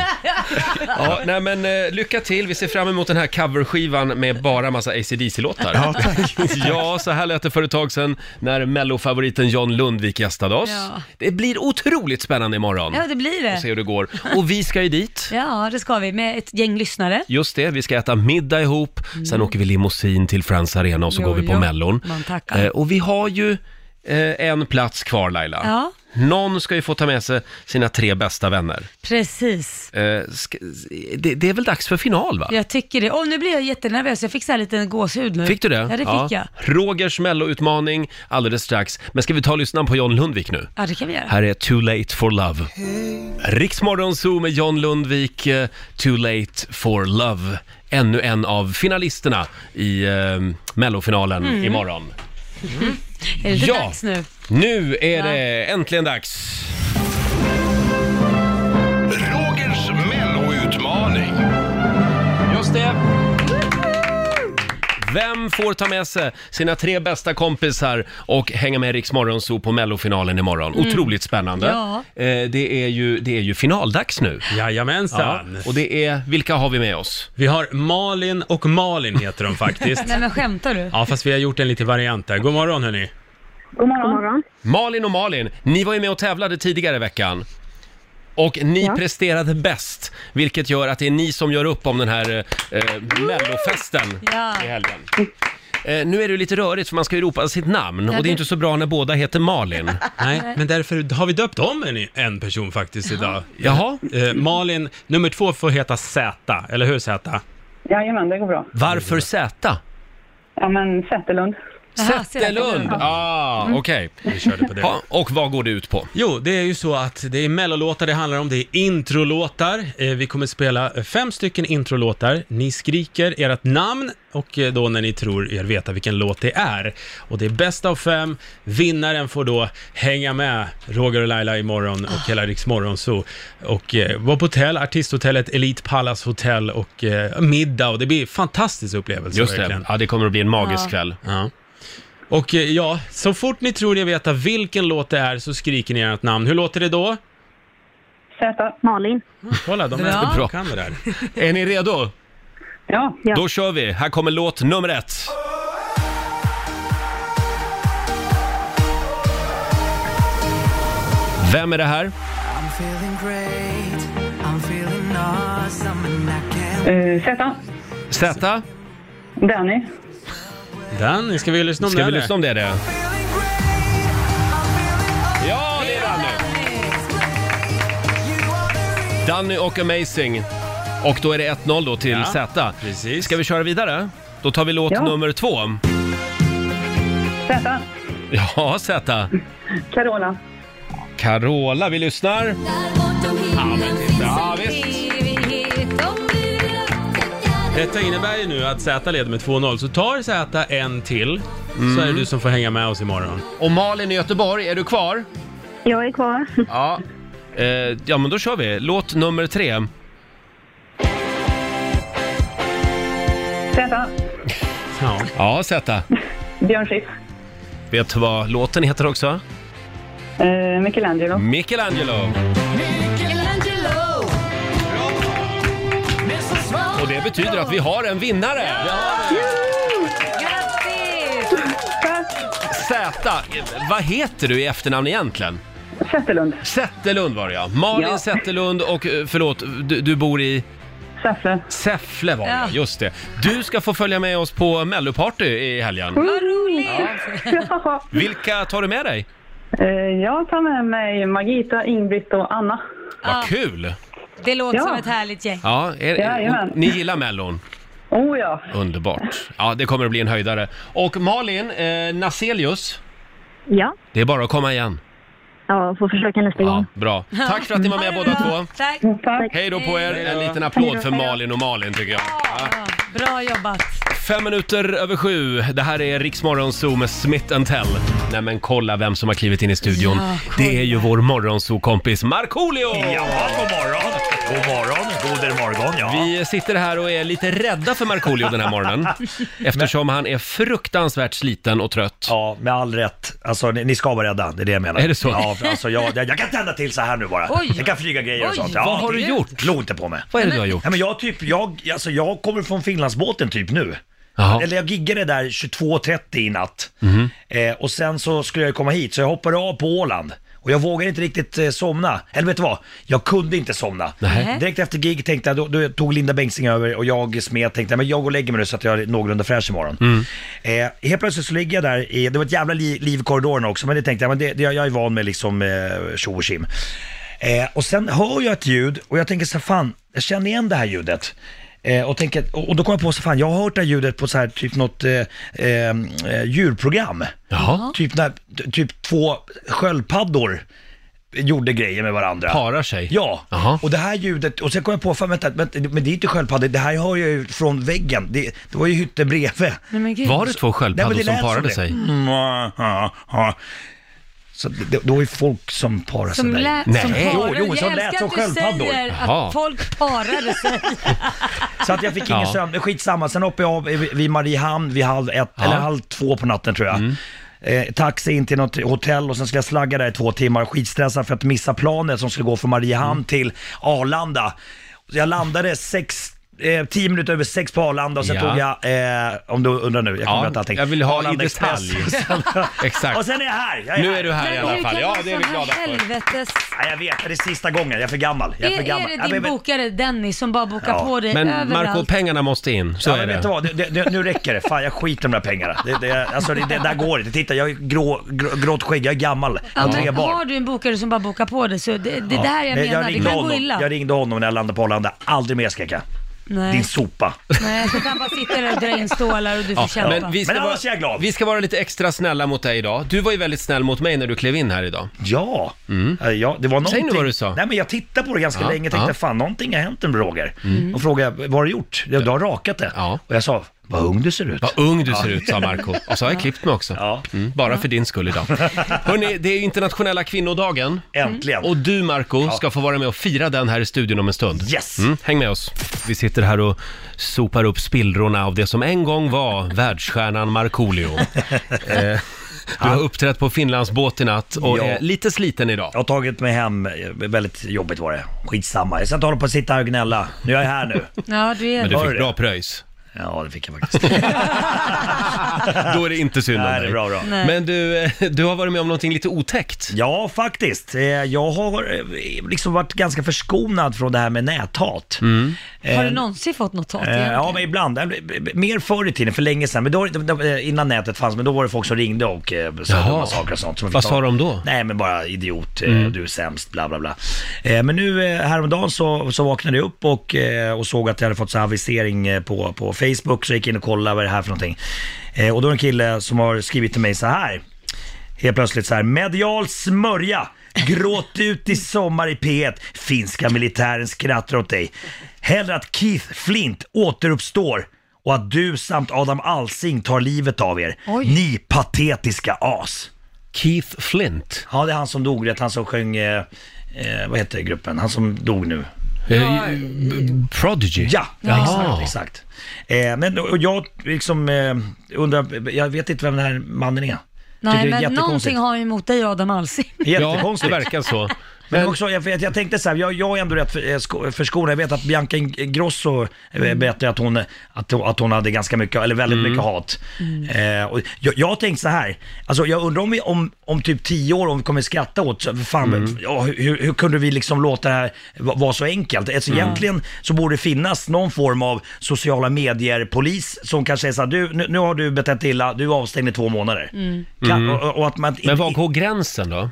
Ja, nej men eh, lycka till, vi ser fram emot den här coverskivan med bara massa ACDC-låtar.
Ja, tack.
Ja, så här lät det för ett tag sedan när mellofavoriten John Lundvik gästade oss.
Ja.
Det blir otroligt spännande imorgon.
Ja, det blir
Se
det.
hur det går. Och vi ska ju dit.
Ja, det ska vi med ett gäng lyssnare.
Just det, vi ska äta middag ihop, sen åker vi limousin till Friends Arena och så
Mm. Jo,
går vi på
jo.
Mellon.
Man tackar.
Eh, och vi har ju eh, en plats kvar Laila.
Ja.
Någon ska ju få ta med sig sina tre bästa vänner.
Precis.
Eh, ska, det, det är väl dags för final va?
Jag tycker det. Åh, nu blir jag jättenervös. Jag fick så här lite gåshud nu.
Fick du det?
Ja, det fick jag.
Rogers melloutmaning alldeles strax. Men ska vi ta och lyssna på John Lundvik nu?
Ja, det kan vi göra.
Här är Too Late for Love. Riksmorgon Zoo med John Lundvik, eh, Too Late for Love. Ännu en av finalisterna i eh, mellofinalen imorgon.
Är det inte
Ja.
dags nu?
Nu är det äntligen dags!
Rogers melloutmaning.
Just det! Vem får ta med sig sina tre bästa kompisar och hänga med Rix Morgonzoo på mellofinalen imorgon? Otroligt spännande.
Ja.
Eh, det, är ju, det är ju finaldags nu. Ja.
Jajamensan!
Och det är, vilka har vi med oss?
Vi har Malin och Malin heter de faktiskt.
Nej men skämtar du?
Ja, fast vi har gjort en liten variant där. God morgon hörni!
God morgon.
Malin och Malin, ni var ju med och tävlade tidigare i veckan. Och ni presterade bäst, vilket gör att det är ni som gör upp om den här eh, eh, mellofesten
Ja.
i helgen. Eh, nu är det ju lite rörigt för man ska ju ropa sitt namn och det är
det-
inte så bra när båda heter Malin.
Nej, men därför har vi döpt om en, en person faktiskt idag.
Jaha,
Eh, Malin, nummer två får heta Z, eller hur Z?
Jajamän, det går bra.
varför Z?
Ja, men Zetterlund.
Jaha,
Zetterlund! Ah, okej.
Vi körde på det.
Ja, och vad går det ut på?
Jo, det är ju så att det är mellolåtar det handlar om, det är introlåtar. Eh, Vi kommer spela fem stycken introlåtar. Ni skriker ert namn och eh, då när ni tror er veta vilken låt det är. Och det är bäst av fem. Vinnaren får då hänga med Roger och Laila imorgon
Ah.
och hela Riks Morgonzoo. Och eh, vara på hotell, artisthotellet Elite Palace Hotel och eh, middag och det blir en fantastisk upplevelse
Just det,
verkligen.
ja, det kommer att bli en magisk kväll.
Ja. Och eh, ja, så fort ni tror ni vet vilken låt det är så skriker ni ert namn. Hur låter det då?
Zäta, Malin.
Mm.
Kolla, de
Bra.
är bra. kan det där.
Är ni redo?
Ja, ja.
Då kör vi! Här kommer låt nummer ett. Vem är det här?
Eh, Zäta,
Zäta?
Danny.
Danny, ska vi lyssna om
Ska
den
vi
här?
lyssna om det? det? Ja, det är Danny! Danny och Amazing. Och då är det 1-0 då till
Ja,
Z.
precis.
Ska vi köra vidare? Då tar vi låt
Ja.
nummer två.
Zäta,
Ja, Z.
Carola.
Carola, vi lyssnar. Ja, visst.
Detta innebär ju nu att Z leder med 2-0, så tar Z en till så
Mm.
är det du som får hänga med oss imorgon.
Och Malin i Göteborg, är du kvar?
Jag är kvar.
Ja. Eh, ja, men då kör vi. Låt nummer tre.
Zäta,
Ja.
Ja, Z.
Björn Skifs.
Vet du vad låten heter också?
Eh, Michelangelo.
Michelangelo. Och det betyder att vi har en vinnare!
Grattis!
Zäta, vad heter du i efternamn egentligen?
Sättelund.
Zetterlund var det ja. Malin
Ja.
Zetterlund och eh, förlåt, du, du bor i
Säffle.
Säffle var det,
Ja.
just det. Du ska få följa med oss på melloparty i helgen.
Vad roligt!
Ja.
Vilka tar du med dig?
Eh, Jag tar med mig Margita, Ingrid och Anna.
Vad kul!
Det låter
Ja.
som ett härligt gäng.
Ja, är,
Jajamän.
ni gillar mellon?
Oh ja.
Underbart. Ja, det kommer att bli en höjdare. Och Malin eh, Naselius,
Ja,
det är bara att komma igen.
jag får försöka nästa
Ja,
gång.
bra. Tack för att ni var med
Ha det
båda
bra.
två.
Tack.
Tack.
Hej då på er! En liten applåd för Malin och Malin tycker jag.
Ja, Bra jobbat.
Fem minuter över sju. Det här är Riksmorgonzoo med Smith and Tell. Nej men kolla vem som har klivit in i studion.
Ja, kolla.
det är ju vår morgonzoo-kompis Markoolio!
Ja, god morgon. God morgon. God morgon, ja.
Vi sitter här och är lite rädda för Markoolio den här morgonen. eftersom han är fruktansvärt sliten och trött.
Ja, med all rätt. Alltså, ni, ni ska vara rädda, det är det jag menar.
Är det så?
Ja, för alltså, jag, jag, jag kan tända till så här nu bara.
Oj.
Jag kan flyga grejer
Oj,
och sånt.
vad har du gjort?
Glo inte på mig.
Vad är det du har gjort?
Nej, men jag, typ, jag, alltså, jag kommer från Finlandsbåten typ nu.
Jaha.
Eller jag giggade där 22.30 i natt. Eh, och sen så skulle jag komma hit, så jag hoppade av på Åland. Och jag vågade inte riktigt eh, somna. Eller vet du vad? Jag kunde inte somna.
Nej.
Direkt efter gig tänkte jag, då, då tog Linda Bengtzing över och jag smet tänkte men jag går och lägger mig nu så att jag är någorlunda fräsch imorgon.
Mm.
Eh, helt plötsligt så ligger jag där, i, det var ett jävla li, liv i korridorerna också, men det tänkte jag, men det, det, jag är van med liksom eh, tjo och tjim. Eh, och sen hör jag ett ljud och jag tänker så här, fan, jag känner igen det här ljudet. Eh, och, tänker, och, och då kom jag på så här, fan, jag har hört det här ljudet på så här, typ något eh, eh, eh, djurprogram.
Jaha.
Typ, när, typ två sköldpaddor gjorde grejer med varandra.
Parar sig?
Ja,
Jaha.
och det här ljudet, och sen kom jag på, fan vänta, vänta men det är inte sköldpaddor, det här hör jag ju från väggen, det, det var ju hytten bredvid.
Nej men gud.
Var det två
Nej, men
sköldpaddor
det
som
lät
parade
det.
sig?
Mm, ja, ja, ja. Så det, det, det var ju folk som parade sig
Som,
där.
lä-
Nej.
som
Jo,
parar.
jo, som
jag
lät som
älskar att du
sköldpaddor.
säger
Jaha.
att folk parade sig.
Så att jag fick ingen
Ja.
sömn, men skitsamma. Sen hoppade jag av vid- vid Mariehamn vid halv ett, eller halv två på natten tror jag.
Mm.
Eh, taxi in till något hotell och sen skulle jag slagga där i två timmar, skitstressad för att missa planet som skulle gå från Mariehamn
Mm.
till Arlanda. Så jag landade sex Eh, tio minuter över sex på Arlanda och sen
Ja.
tog jag, eh, om du undrar nu, jag kommer
Ja,
berätta allting.
jag vill ha i
Arlanda
detalj.
Express. Och sen-
Exakt.
och sen är jag här! Jag är
Nu
här.
är du här i alla fall. Ja, det är vi glada för.
helvetes...
Ja, jag vet, det är sista gången, jag är för gammal. Jag är,
Är,
för gammal. Ja,
är det din
men- men-
bokare Dennis som bara bokar
Ja.
på dig
Men
överallt?
Marco, pengarna måste in. Så
ja,
är
men vet du
det.
vad? Det, det, det, nu räcker det. Fan, jag skiter i de där pengarna. Det, det, alltså, det, det där går inte. Titta, jag är grå, grå, grått skägg, jag är gammal. Jag
Ja,
har tre
men har
barn.
du en bokare som bara bokar på dig så det, det, det här jag
Men
menar, det
ringde
kan gå
honom.
illa.
jag ringde honom när jag landade på Arlanda. Aldrig mer skrek jag.
Nej.
Din sopa.
Nej, så kan bara sitta där och dra in stålar och du får
Ja,
kämpa.
men vi ska,
Men
vara,
annars är jag glad.
vi ska vara lite extra snälla mot dig idag. Du var ju väldigt snäll mot mig när du klev in här idag.
Ja. Eh, ja, det var någonting.
Mm. vad du sa.
Nej, men jag tittade på det ganska
Ja,
länge och tänkte,
ja. Mm.
fan någonting har hänt med Roger. Och frågade, vad har du gjort? Ja, Du har rakat det.
Ja.
Och jag sa, vad ung du ser ut.
Vad ung du ser ut, sa Marco. Och så har jag klippt mig också.
Ja.
Mm, bara för din skull idag. Hörni, det är ju internationella kvinnodagen.
Äntligen.
Och du, Marco, ska få vara med och fira den här i studion om en stund.
Yes.
Mm, häng med oss. Vi sitter här och sopar upp spillrorna av det som en gång var världsstjärnan Markoolio. Eh, Du har uppträtt på Finlandsbåt i natt och
Ja.
är lite sliten idag.
Jag har tagit mig hem, eh, väldigt jobbigt var det. Skitsamma. Jag ska inte hålla på och sitta här och gnälla. Nu är jag här nu.
Ja, du är
Men du
det.
Var
fick
det?
bra pröjs.
Ja, det fick jag faktiskt.
Då är det inte synd om
Nej, det
dig.
är bra, bra.
Nej.
Men du, eh, du har varit med om någonting lite otäckt.
Ja, faktiskt. Eh, Jag har eh, liksom varit ganska förskonad från det här med näthat.
Mm.
Har du någonsin fått något hat
Eh,
egentligen?
Ja, men ibland. Eh, b- b- Mer förr i tiden, för länge sedan. Men då, då- eh, innan nätet fanns, men då var det folk som ringde och eh, sa
Jaha.
dumma saker och sånt. som man fick
Vad
ta-
sa de då? Mm.
Nej, men bara idiot, eh, du är sämst, bla bla bla. Eh, Men nu eh, häromdagen så, så vaknade jag upp och, eh, och såg att jag hade fått så här avisering eh, på, på Facebook, så jag gick in och kollade vad det här för någonting. Eh, Och då är det en kille som har skrivit till mig så här. Helt plötsligt så här, medial smörja, gråt ut i sommar i P1, finska militären skrattar åt dig. Hellre att Keith Flint återuppstår och att du samt Adam Alsing tar livet av er. Ni patetiska as.
Keith Flint.
Ja, det är han som dog, det han som sjöng, eh, eh, vad heter gruppen, han som dog nu.
Eh, b- Prodigy.
Ja,
Jaha.
exakt. exakt. Eh, men och jag liksom eh, undrar, jag vet inte vem den här mannen är.
Nej,
Tycker det är
men
jättekonstigt.
någonting har jag emot dig Adam Alsing.
Ja, det
Jättekonstigt.
verkar så.
Men också, jag, vet, jag tänkte så här, jag, jag är ändå rätt för, eh, sko- förskonad. Jag vet att Bianca Ingrosso eh,
Mm.
berättade att hon, att, hon- att hon hade ganska mycket, eller väldigt mycket hat.
Mm.
Eh, och jag, jag har tänkt så här, alltså jag undrar om vi om, om typ tio år, om vi kommer skratta åt, så- fan,
Mm.
ja, hur, hur kunde vi liksom låta det här va- vara så enkelt? Alltså,
Mm.
Egentligen så borde det finnas någon form av sociala medier-polis som kanske säger så här, du, nu, nu har du betett dig illa, du är avstängd i två månader.
Mm.
Kan, och, och att man,
Men var går gränsen då?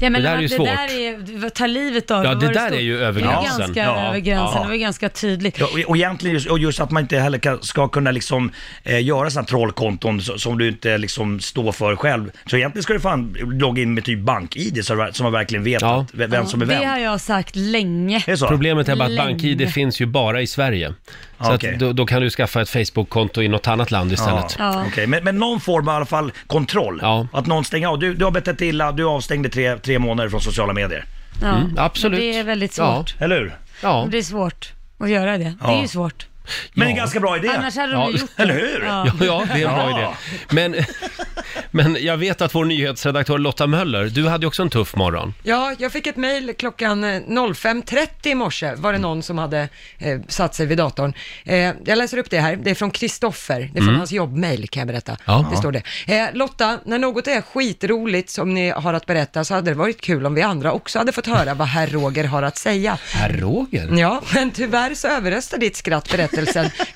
Ja, men
Det där är ju
det
svårt.
Där är, vad tar livet av
Ja,
Vad
det
var
där
stod?
är ju över
Det är
gränsen.
ganska
Ja.
över gränsen,
Ja.
det var ju ganska tydligt.
Ja, och, och egentligen just, och just att man inte heller kan, ska kunna liksom, eh, göra sådana trollkonton som, som du inte liksom står för själv. Så egentligen ska du fan logga in med typ bank-id så, så man verkligen vet att, v- vem som är
Det
vem.
har jag sagt länge.
Problemet är bara att
Länge.
BankID finns ju bara i Sverige. Så
Okej.
att då, då kan du skaffa ett Facebook-konto i något annat land istället.
Ja, okej. men, men någon form av i alla fall kontroll. Att någon stänger av. Du, du har betett dig illa, du är avstängd i tre, tre månader från sociala medier.
Ja. Mm, absolut. Det är väldigt svårt.
Ja. Eller hur?
Ja.
Det är svårt att göra det. Det
Ja.
är ju svårt.
Men en ganska bra idé.
Annars hade de ju gjort det.
Eller hur?
Ja, ja det är en bra idé. Men, men jag vet att vår nyhetsredaktör Lotta Möller, du hade ju också en tuff morgon.
Ja, jag fick ett mejl klockan eh, 05.30 i morse, var
Mm.
det någon som hade eh, satt sig vid datorn. Eh, jag läser upp det här, det är från Kristoffer, det är från
Mm.
hans jobbmejl kan jag berätta.
Ja.
Det står det. Eh, Lotta, när något är skitroligt som ni har att berätta så hade det varit kul om vi andra också hade fått höra vad herr Roger har att säga.
Herr Roger?
Ja, men tyvärr så överröstar ditt skratt berättelsen,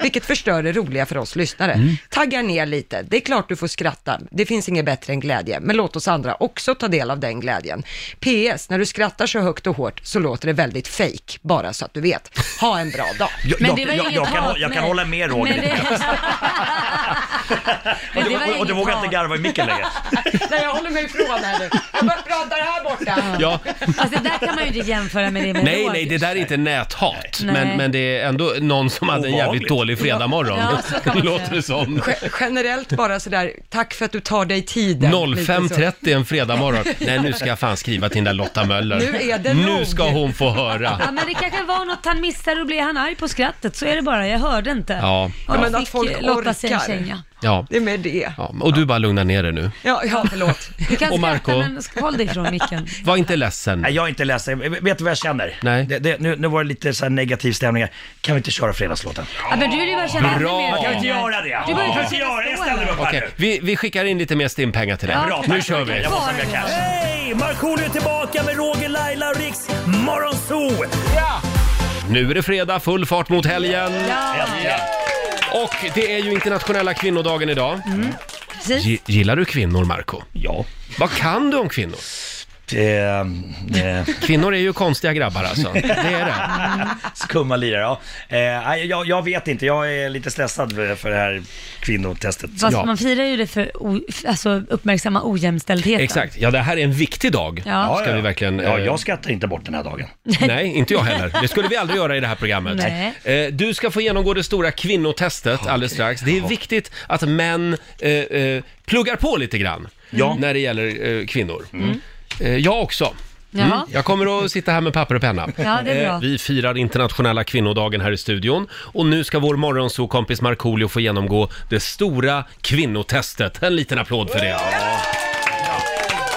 vilket förstör det roliga för oss lyssnare.
Mm.
Taggar ner lite, det är klart du får skratta, det finns inget bättre än glädje, men låt oss andra också ta del av den glädjen. PS, när du skrattar så högt och hårt så låter det väldigt fake, bara så att du vet. Ha en bra dag.
Jag, jag, jag, jag, kan, hå- jag kan hålla med Roger. och
det var
du, och du
inget
vågar
hat.
inte garva i micken längre.
Nej, jag håller mig ifrån här nu. Jag bara pratar här borta.
Ja.
Alltså det där kan man ju inte jämföra med det med
Nej,
Roger.
nej, det där är inte näthat.
Nej.
Men, men det är ändå någon som hade en jävligt
Ovanligt.
dålig fredagmorgon.
Ja, så kan man
Låter det som.
Ge- Generellt bara sådär, tack för att du tar dig tiden. Lite så.
05.30 en fredagmorgon. Nej, nu ska jag fan skriva till den där Lotta Möller.
Nu är det
Nu
nog.
ska hon få
Ja,
höra.
men det kanske var något han missade och blev han arg på skrattet, så är det bara. Jag hörde inte.
Ja.
Och
Ja,
då
men
fick
att folk
eh, Lotta sig en
orkar.
känga.
Ja.
Det är med det.
Ja, och du bara lugna ner dig nu.
Ja, ja förlåt.
Du kan
Och Marco?
skratta, men håll dig ifrån micken.
Var inte ledsen.
Nej, jag är inte ledsen. Vet du vad jag känner? Nej. Det, det, nu, nu var det lite så här negativ stämning här. Kan vi inte köra fredagslåten?
Ja, men du är ju bara känna ännu
Bra.
mer.
Man kan inte
göra det.
Du börjar
Man kan
inte
inte göra det. Jag ställer mig upp.
Okej, vi, vi skickar in lite mer stimpengar till dig.
Ja, Bra,
nu
tack.
kör vi.
Jag måste samla cash. Hej! Markoolio är tillbaka med Roger, Laila och Riks Morgonzoo! Ja!
Nu är det fredag, full fart mot helgen.
Äntligen.
Och det är ju internationella kvinnodagen idag.
Precis.
Gi- Gillar du kvinnor, Marco?
Ja.
Vad kan du om kvinnor? Kvinnor är ju konstiga grabbar alltså. Det är det.
Skumma lirare, ja. Eh, nej, jag, jag vet inte, jag är lite stressad för för det här kvinnotestet.
Fast man firar ju det för o, alltså, uppmärksamma ojämställdheten.
Exakt. Ja, det här är en viktig dag.
Ja.
Ska vi verkligen...
Ja,
eh,
jag skrattar inte bort den här dagen.
Nej, inte jag heller. Det skulle vi aldrig göra i det här programmet.
Nej.
Eh, Du ska få genomgå det stora kvinnotestet alldeles strax. Det är viktigt att män eh, eh, pluggar på lite grann när det gäller eh, kvinnor.
Mm.
Eh, Jag också.
Jaha.
Mm. Jag kommer att sitta här med papper och penna.
Ja, det är bra.
Eh, Vi firar internationella kvinnodagen här i studion och nu ska vår morgonsokompis Markoolio få genomgå det stora kvinnotestet. En liten applåd för det.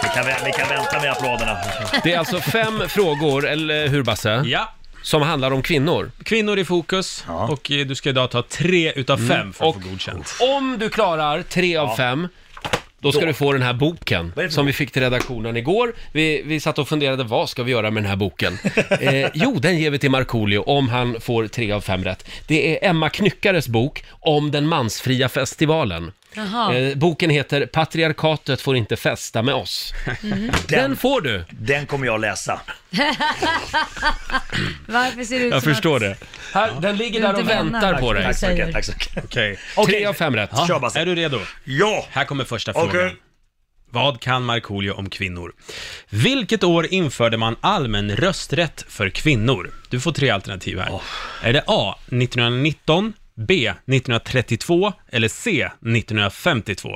Vi kan, vä- vi kan vänta med applåderna.
Det är alltså fem frågor, eller hur Basse?
Ja.
Som handlar om kvinnor.
Kvinnor i fokus och eh, du ska idag ta tre utav fem
Mm.
för att få godkänt.
Om du klarar tre av
Ja.
fem, då ska
Då.
du få den här boken som vi fick till redaktionen igår. Vi, vi satt och funderade, vad ska vi göra med den här boken? eh, jo, den ger vi till Markoolio om han får tre av fem rätt. Det är Emma Knyckares bok om den mansfria festivalen.
Jaha.
Eh, boken heter Patriarkatet får inte festa med oss.
Mhm.
Den, får du!
Mm. Den kommer jag läsa.
Varför ser det
Jag
ut som att-
förstår det. Här, den ligger
Du
där och
inte menar
väntar på
vad
dig.
du säger.
Tack så mycket.
Okej.
Tre av fem rätt.
Ja.
Kör bara.
Är du redo?
Ja!
Här kommer första
Okej.
frågan. Vad kan Markoolio om kvinnor? Vilket år införde man allmän rösträtt för kvinnor? Du får tre alternativ här. Är det A. 1919, B. 1932 eller C. 1952?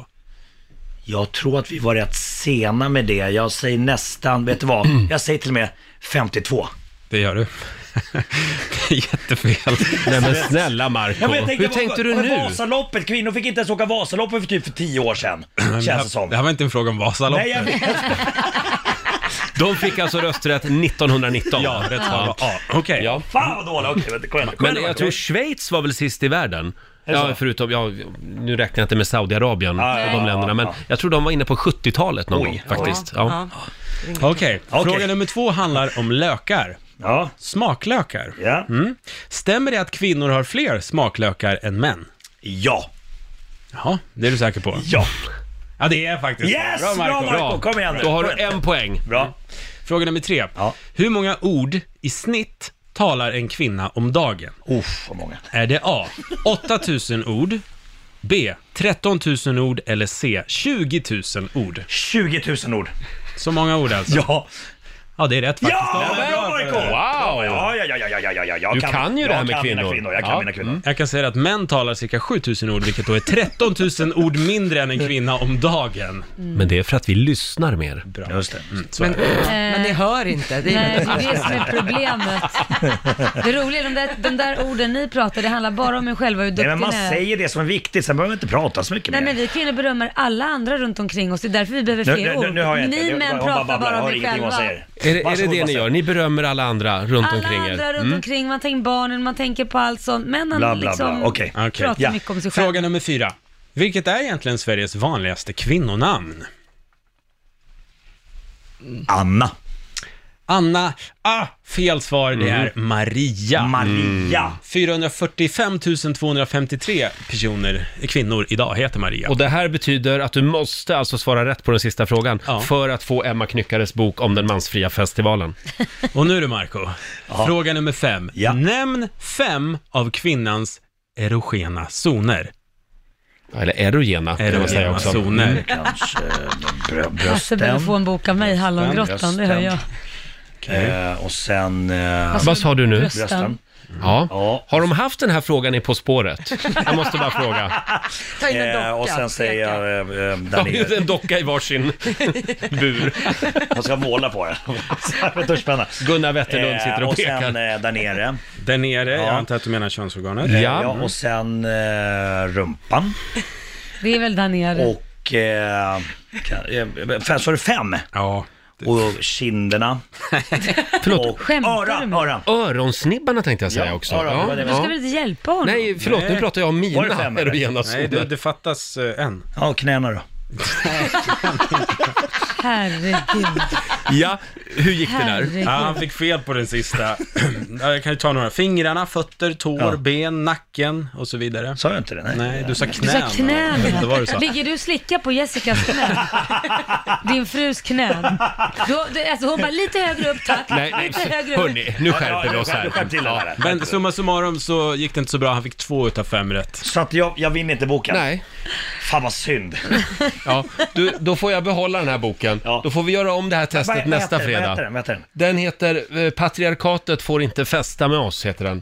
Jag tror att vi var rätt sena med det. Jag säger nästan, vet du vad? Jag säger till och med 52.
Det gör du. Jättefel.
Nej men snälla Marco.
Ja, men jag tänkte,
Hur
vad-
tänkte du
vad-
nu?
Vasaloppet, kvinnor fick inte ens åka Vasaloppet för typ för tio år sedan.
Men det
Känns
här-
det som.
Det här var inte en fråga om Vasaloppet.
Nej, jag vet.
De fick alltså rösträtt 1919.
Ja, rätt svar var A.
Okej. Ja.
Fan vad dålig, okej men kom igen.
Men jag tror Schweiz var väl sist i världen.
Är det
Ja,
så?
förutom, ja, nu räknar jag inte med Saudiarabien
Ja, ja,
och de
ja,
länderna,
ja,
men
ja.
jag tror de var inne på 70-talet någon
Oj,
gång
ja.
faktiskt.
Ja.
Ja.
Okej,
Okej.
fråga nummer två handlar om lökar.
Ja.
Smaklökar.
Ja.
Mm. Stämmer det att kvinnor har fler smaklökar än män?
Ja.
Jaha, det är du säker på?
Ja.
Ja, det är faktiskt
Yes, bra, Marco. Kom igen nu.
Då har
Kom
du
igen.
en poäng. Mm.
Bra.
Fråga nummer tre. Hur många ord i snitt talar en kvinna om dagen?
Uff, vad många.
Är det A. 8000 ord, B. 13 000 ord eller C. 20 000 ord?
20 000 ord.
Så många ord alltså?
Ja.
Ja, det är rätt faktiskt.
Ja, men bra Marco!
Wow!
Ja, ja, ja, ja, ja, ja, ja. Jag
Du kan ju
jag
det här med
kan
kvinnor.
Mina kvinnor. Jag kan
Ja.
mina kvinnor.
Mm. Jag kan säga att män talar cirka 7000 ord, vilket då är 13 000 ord mindre än en kvinna om dagen.
Men det är för att vi lyssnar mer.
Bra.
Just det.
Mm, så är
Men,
det.
men ni hör inte. Det
Nej,
är
det är det som är problemet. Det roliga är de där, de där orden ni pratar, det handlar bara om er själva, hur
Nej,
duktig
men man
ni är.
säger det som är viktigt, sen behöver man inte prata så mycket
Nej
mer.
men vi kvinnor berömmer alla andra runt omkring oss, det är därför vi behöver
Nu-
fler
nu-
ord.
nu- nu har jag inte.
ni
Nu-
män
hon bara
pratar
babblar.
bara
Jag
om
hör
er
ingenting vad hon
själva.
säger.
Är, det- är det
Varsågod,
det ni
varsågod.
gör? Ni berömmer alla andra runt
Alla
omkring er? Mm.
andra runt omkring, man tänker barnen, man tänker på allt sånt. Männen
Bla, bla, bla.
liksom
Okej.
Okej.
pratar
Ja.
mycket om sig själva.
Fråga nummer fyra. Vilket är egentligen Sveriges vanligaste kvinnonamn?
Anna.
Anna. Ah, fel svar. Det är Maria.
Mm.
Mm.
Maria.
445 253 personer, kvinnor idag heter Maria.
Och det här betyder att du måste alltså svara rätt på den sista frågan
Ja.
för att få Emma Knyckares bok om den mansfria festivalen.
Och nu du Marco, fråga nummer fem.
Ja.
Nämn fem av kvinnans erogena zoner.
Eller erogena, kan man säga
Erogena
också.
zoner.
Kanske brö-
Lasse
brösten.
behöver få en bok av mig, Hallongrottan,
Brösten.
det hör jag.
Mm.
Eh, och sen... Eh,
Vad sa du nu?
brösten.
Ja.
Ja.
Har de haft den här frågan i På spåret? Jag måste bara fråga.
Ta in en docka.
Eh, och sen säger
steka.
jag eh, eh, där
De har ju
nere.
en docka i varsin bur.
Jag ska måla på den. Med duschpenna.
Gunnar Wetterlund
Eh,
sitter och
och sen
pekar.
eh, där nere.
Där nere, jag
Ja.
antar att du menar könsorganet.
Eh,
Ja.
Ja, och sen eh, rumpan.
Det är väl där nere.
Och... Eh, kan- eh, fem- så är det fem.
Ja.
Och kinderna.
Förlåt.
Och
Skämtar du
öra,
med
öra.
Öronsnibbarna tänkte jag säga
Ja,
också.
öron, det var det vi-
Ska vi inte hjälpa honom?
Nej, förlåt, nu
Nej.
pratar jag om
Var det
mina
fem, eller?
erogena
Nej, det,
zoner.
det fattas eh, en.
Ja, och knäna då.
Herregud,
Ja, hur gick det där?
Ja,
herregud.
han fick fel på den sista. Ja, jag kan ju ta några. Fingrarna, fötter, tår,
Ja.
ben, nacken och så vidare.
Sa jag inte det? Nej.
Nej, du sa knän.
Du sa
Jag vet inte vad du
knäna.
sa.
Ligger du och slickar på Jessicas knän? Din frus knän? Du, du, alltså hon bara, lite högre upp tack.
Nej, nej,
lite högre upp.
hörni, nu skärper
Ja,
vi
ja,
oss
skärp- skärp till
här.
det där.
Men summa summarum så gick det inte så bra. Han fick två utav fem rätt.
Så att jag, jag vinner inte boken.
Nej,
Fan vad synd.
ja, du, då får jag behålla den här boken.
Ja.
Då får vi göra om det här
Vad-
testet
vad
nästa
heter den? Vad heter
fredag.
den? Vad heter den?
Den heter eh, Patriarkatet får inte fästa med oss, heter den.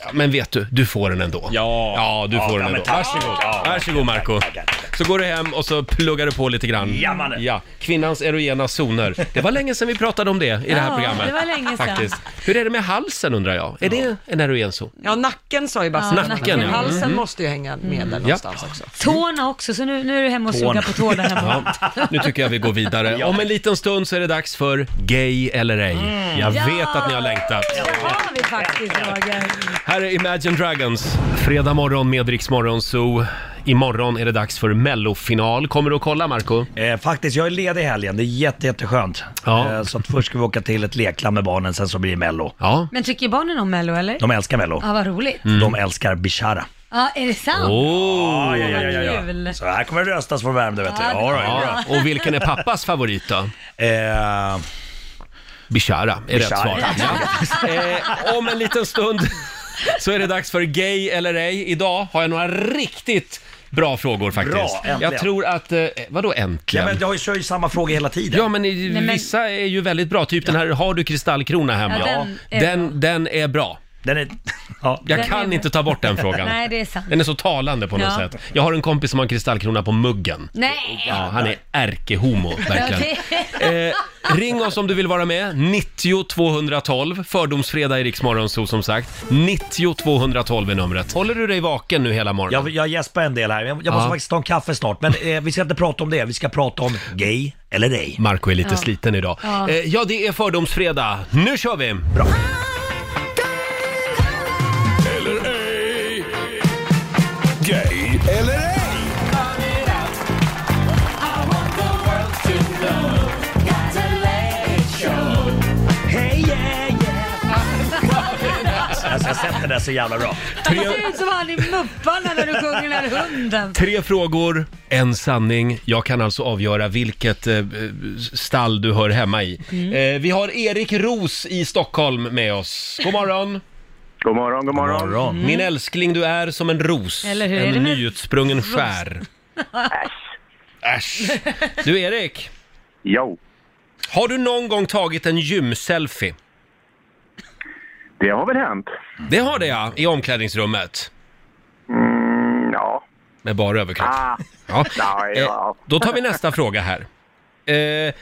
Ja, Men vet du, du får den ändå.
Ja.
Ja, du
Ja,
får
ja,
den
men
ändå.
tack.
Varsågod.
Ja, tack,
Varsågod Marco.
tack, tack, tack.
Så går du hem och så pluggar du på lite grann.
Ja, mannen.
Ja, kvinnans erogena zoner. Det var länge sedan vi pratade om det i det här
Ja,
programmet.
det var länge sedan.
Faktiskt. Hur är det med halsen undrar jag? Är det en erogen zon?
Ja, nacken sa ju bara
Ja,
Sebbe.
nacken, ja. Mm.
Halsen måste ju hänga med där någonstans också.
Tårna också, så nu, nu är du hemma och
Tårna.
sugar på tår där hemma.
Ja, nu tycker jag vi går vidare. Om en liten stund så är det dags för Gay eller ej.
Mm.
Jag
Ja.
vet att ni har längtat.
Det har vi faktiskt Roger.
Här är Imagine Dragons. Fredag morgon med Rix Morgon Zoo. Imorgon är det dags för mellofinal. Kommer du att kolla Marco?
Eh, faktiskt, jag är ledig i helgen. Det är jätte, jätteskönt.
Ja.
Eh, så att först ska vi åka till ett lekland med barnen, sen så blir det Mello.
Ja.
Men tycker barnen om Mello eller?
De älskar Mello.
Ja, vad roligt.
Mm.
De älskar Bishara.
Ja, är det sant?
Oh.
ja, ja,
Kul.
Så här kommer det röstas på Värmdö, vet du.
Ja,
Ja, då, ja.
Ja. Och vilken är pappas favorit då?
Eh,
Bishara är rätt
Bishara.
svar. Ja. Eh, om en liten stund så är det dags för Gay eller ej. Idag har jag några riktigt bra frågor faktiskt.
äntligen.
jag tror att, eh, vadå
ja,
äntligen?
men jag kör ju samma fråga hela tiden.
Ja, men, i-
men-
vissa är ju väldigt bra. Typ den här, har du kristallkrona hemma?
Ja, den är
den, den är bra.
Den är... Ja.
Jag
Den
kan
är-
inte ta bort den frågan.
Nej, det är sant.
Den är så talande på något
Ja.
sätt. Jag har en kompis som har en kristallkrona på muggen.
Nej!
Ja, han är ärkehomo, verkligen. Eh, ring oss om du vill vara med. 90 212, fördomsfredag i Riksmorgonzoo som sagt. 90 212 är numret. Håller du dig vaken nu hela morgonen?
Jag, jag gäspar en del här. Jag, jag måste
Ja.
faktiskt ta en kaffe snart. Men eh, vi ska inte prata om det. Vi ska prata om gay eller ej.
Marco är lite
Ja.
sliten idag.
Ja.
Ja. Eh, ja, det är fördomsfredag. Nu kör vi! Bra.
Gay eller ej?
Alltså, jag har sett det där så jävla bra.
Han ser ut som han i Mupparna när du sjunger den här hunden.
Tre frågor, en sanning. Jag kan alltså avgöra vilket eh, stall du hör hemma i. Eh, vi har Erik Ros i Stockholm med oss. God morgon!
God morgon, god morgon. Mm.
Min älskling, du är som en ros.
Eller hur? Är det
En
med-
nyutsprungen skär. Äsch! Du Erik!
Jo.
Har du någon gång tagit en gymselfie?
Det har väl hänt?
Det har det ja, i omklädningsrummet.
Mm, ja.
Med bara överkropp.
Ah.
Ja.
Ja, ja.
Eh, Då tar vi nästa fråga här. Eh, eh,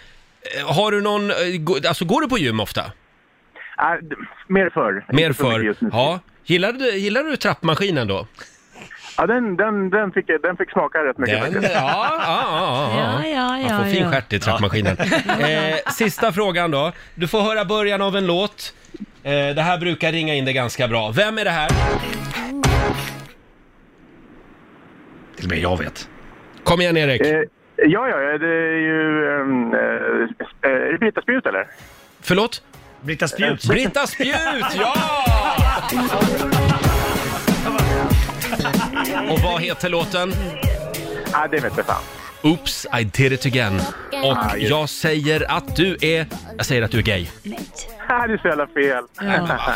har du någon, eh, gå- alltså går du på gym ofta?
Äh, d- mer förr.
Mer
Inte så mycket
förr?
just nu.
Ja. Gillar du, gillar du trappmaskinen då?
Ja, den, den, den, fick, den fick smaka rätt mycket
Den-
faktiskt.
ja,
Ja, ja, ja.
Man får fin
ja.
stjärt i trappmaskinen. Eh, sista frågan då. Du får höra början av en låt. Eh, det här brukar ringa in det ganska bra. Vem är det här?
Till och med jag vet.
Kom igen Erik.
Eh, ja, ja, det är ju... ehm, eh, eh, är det Brita Spjut eller?
Förlåt?
Britta Spjut.
Britta Spjut, ja! Och vad heter låten?
Ja, det vet jag fan.
Oops, I did it again. Och jag säger att du är... Jag säger att du är gay.
Ah, det är så jävla fel.
Ja.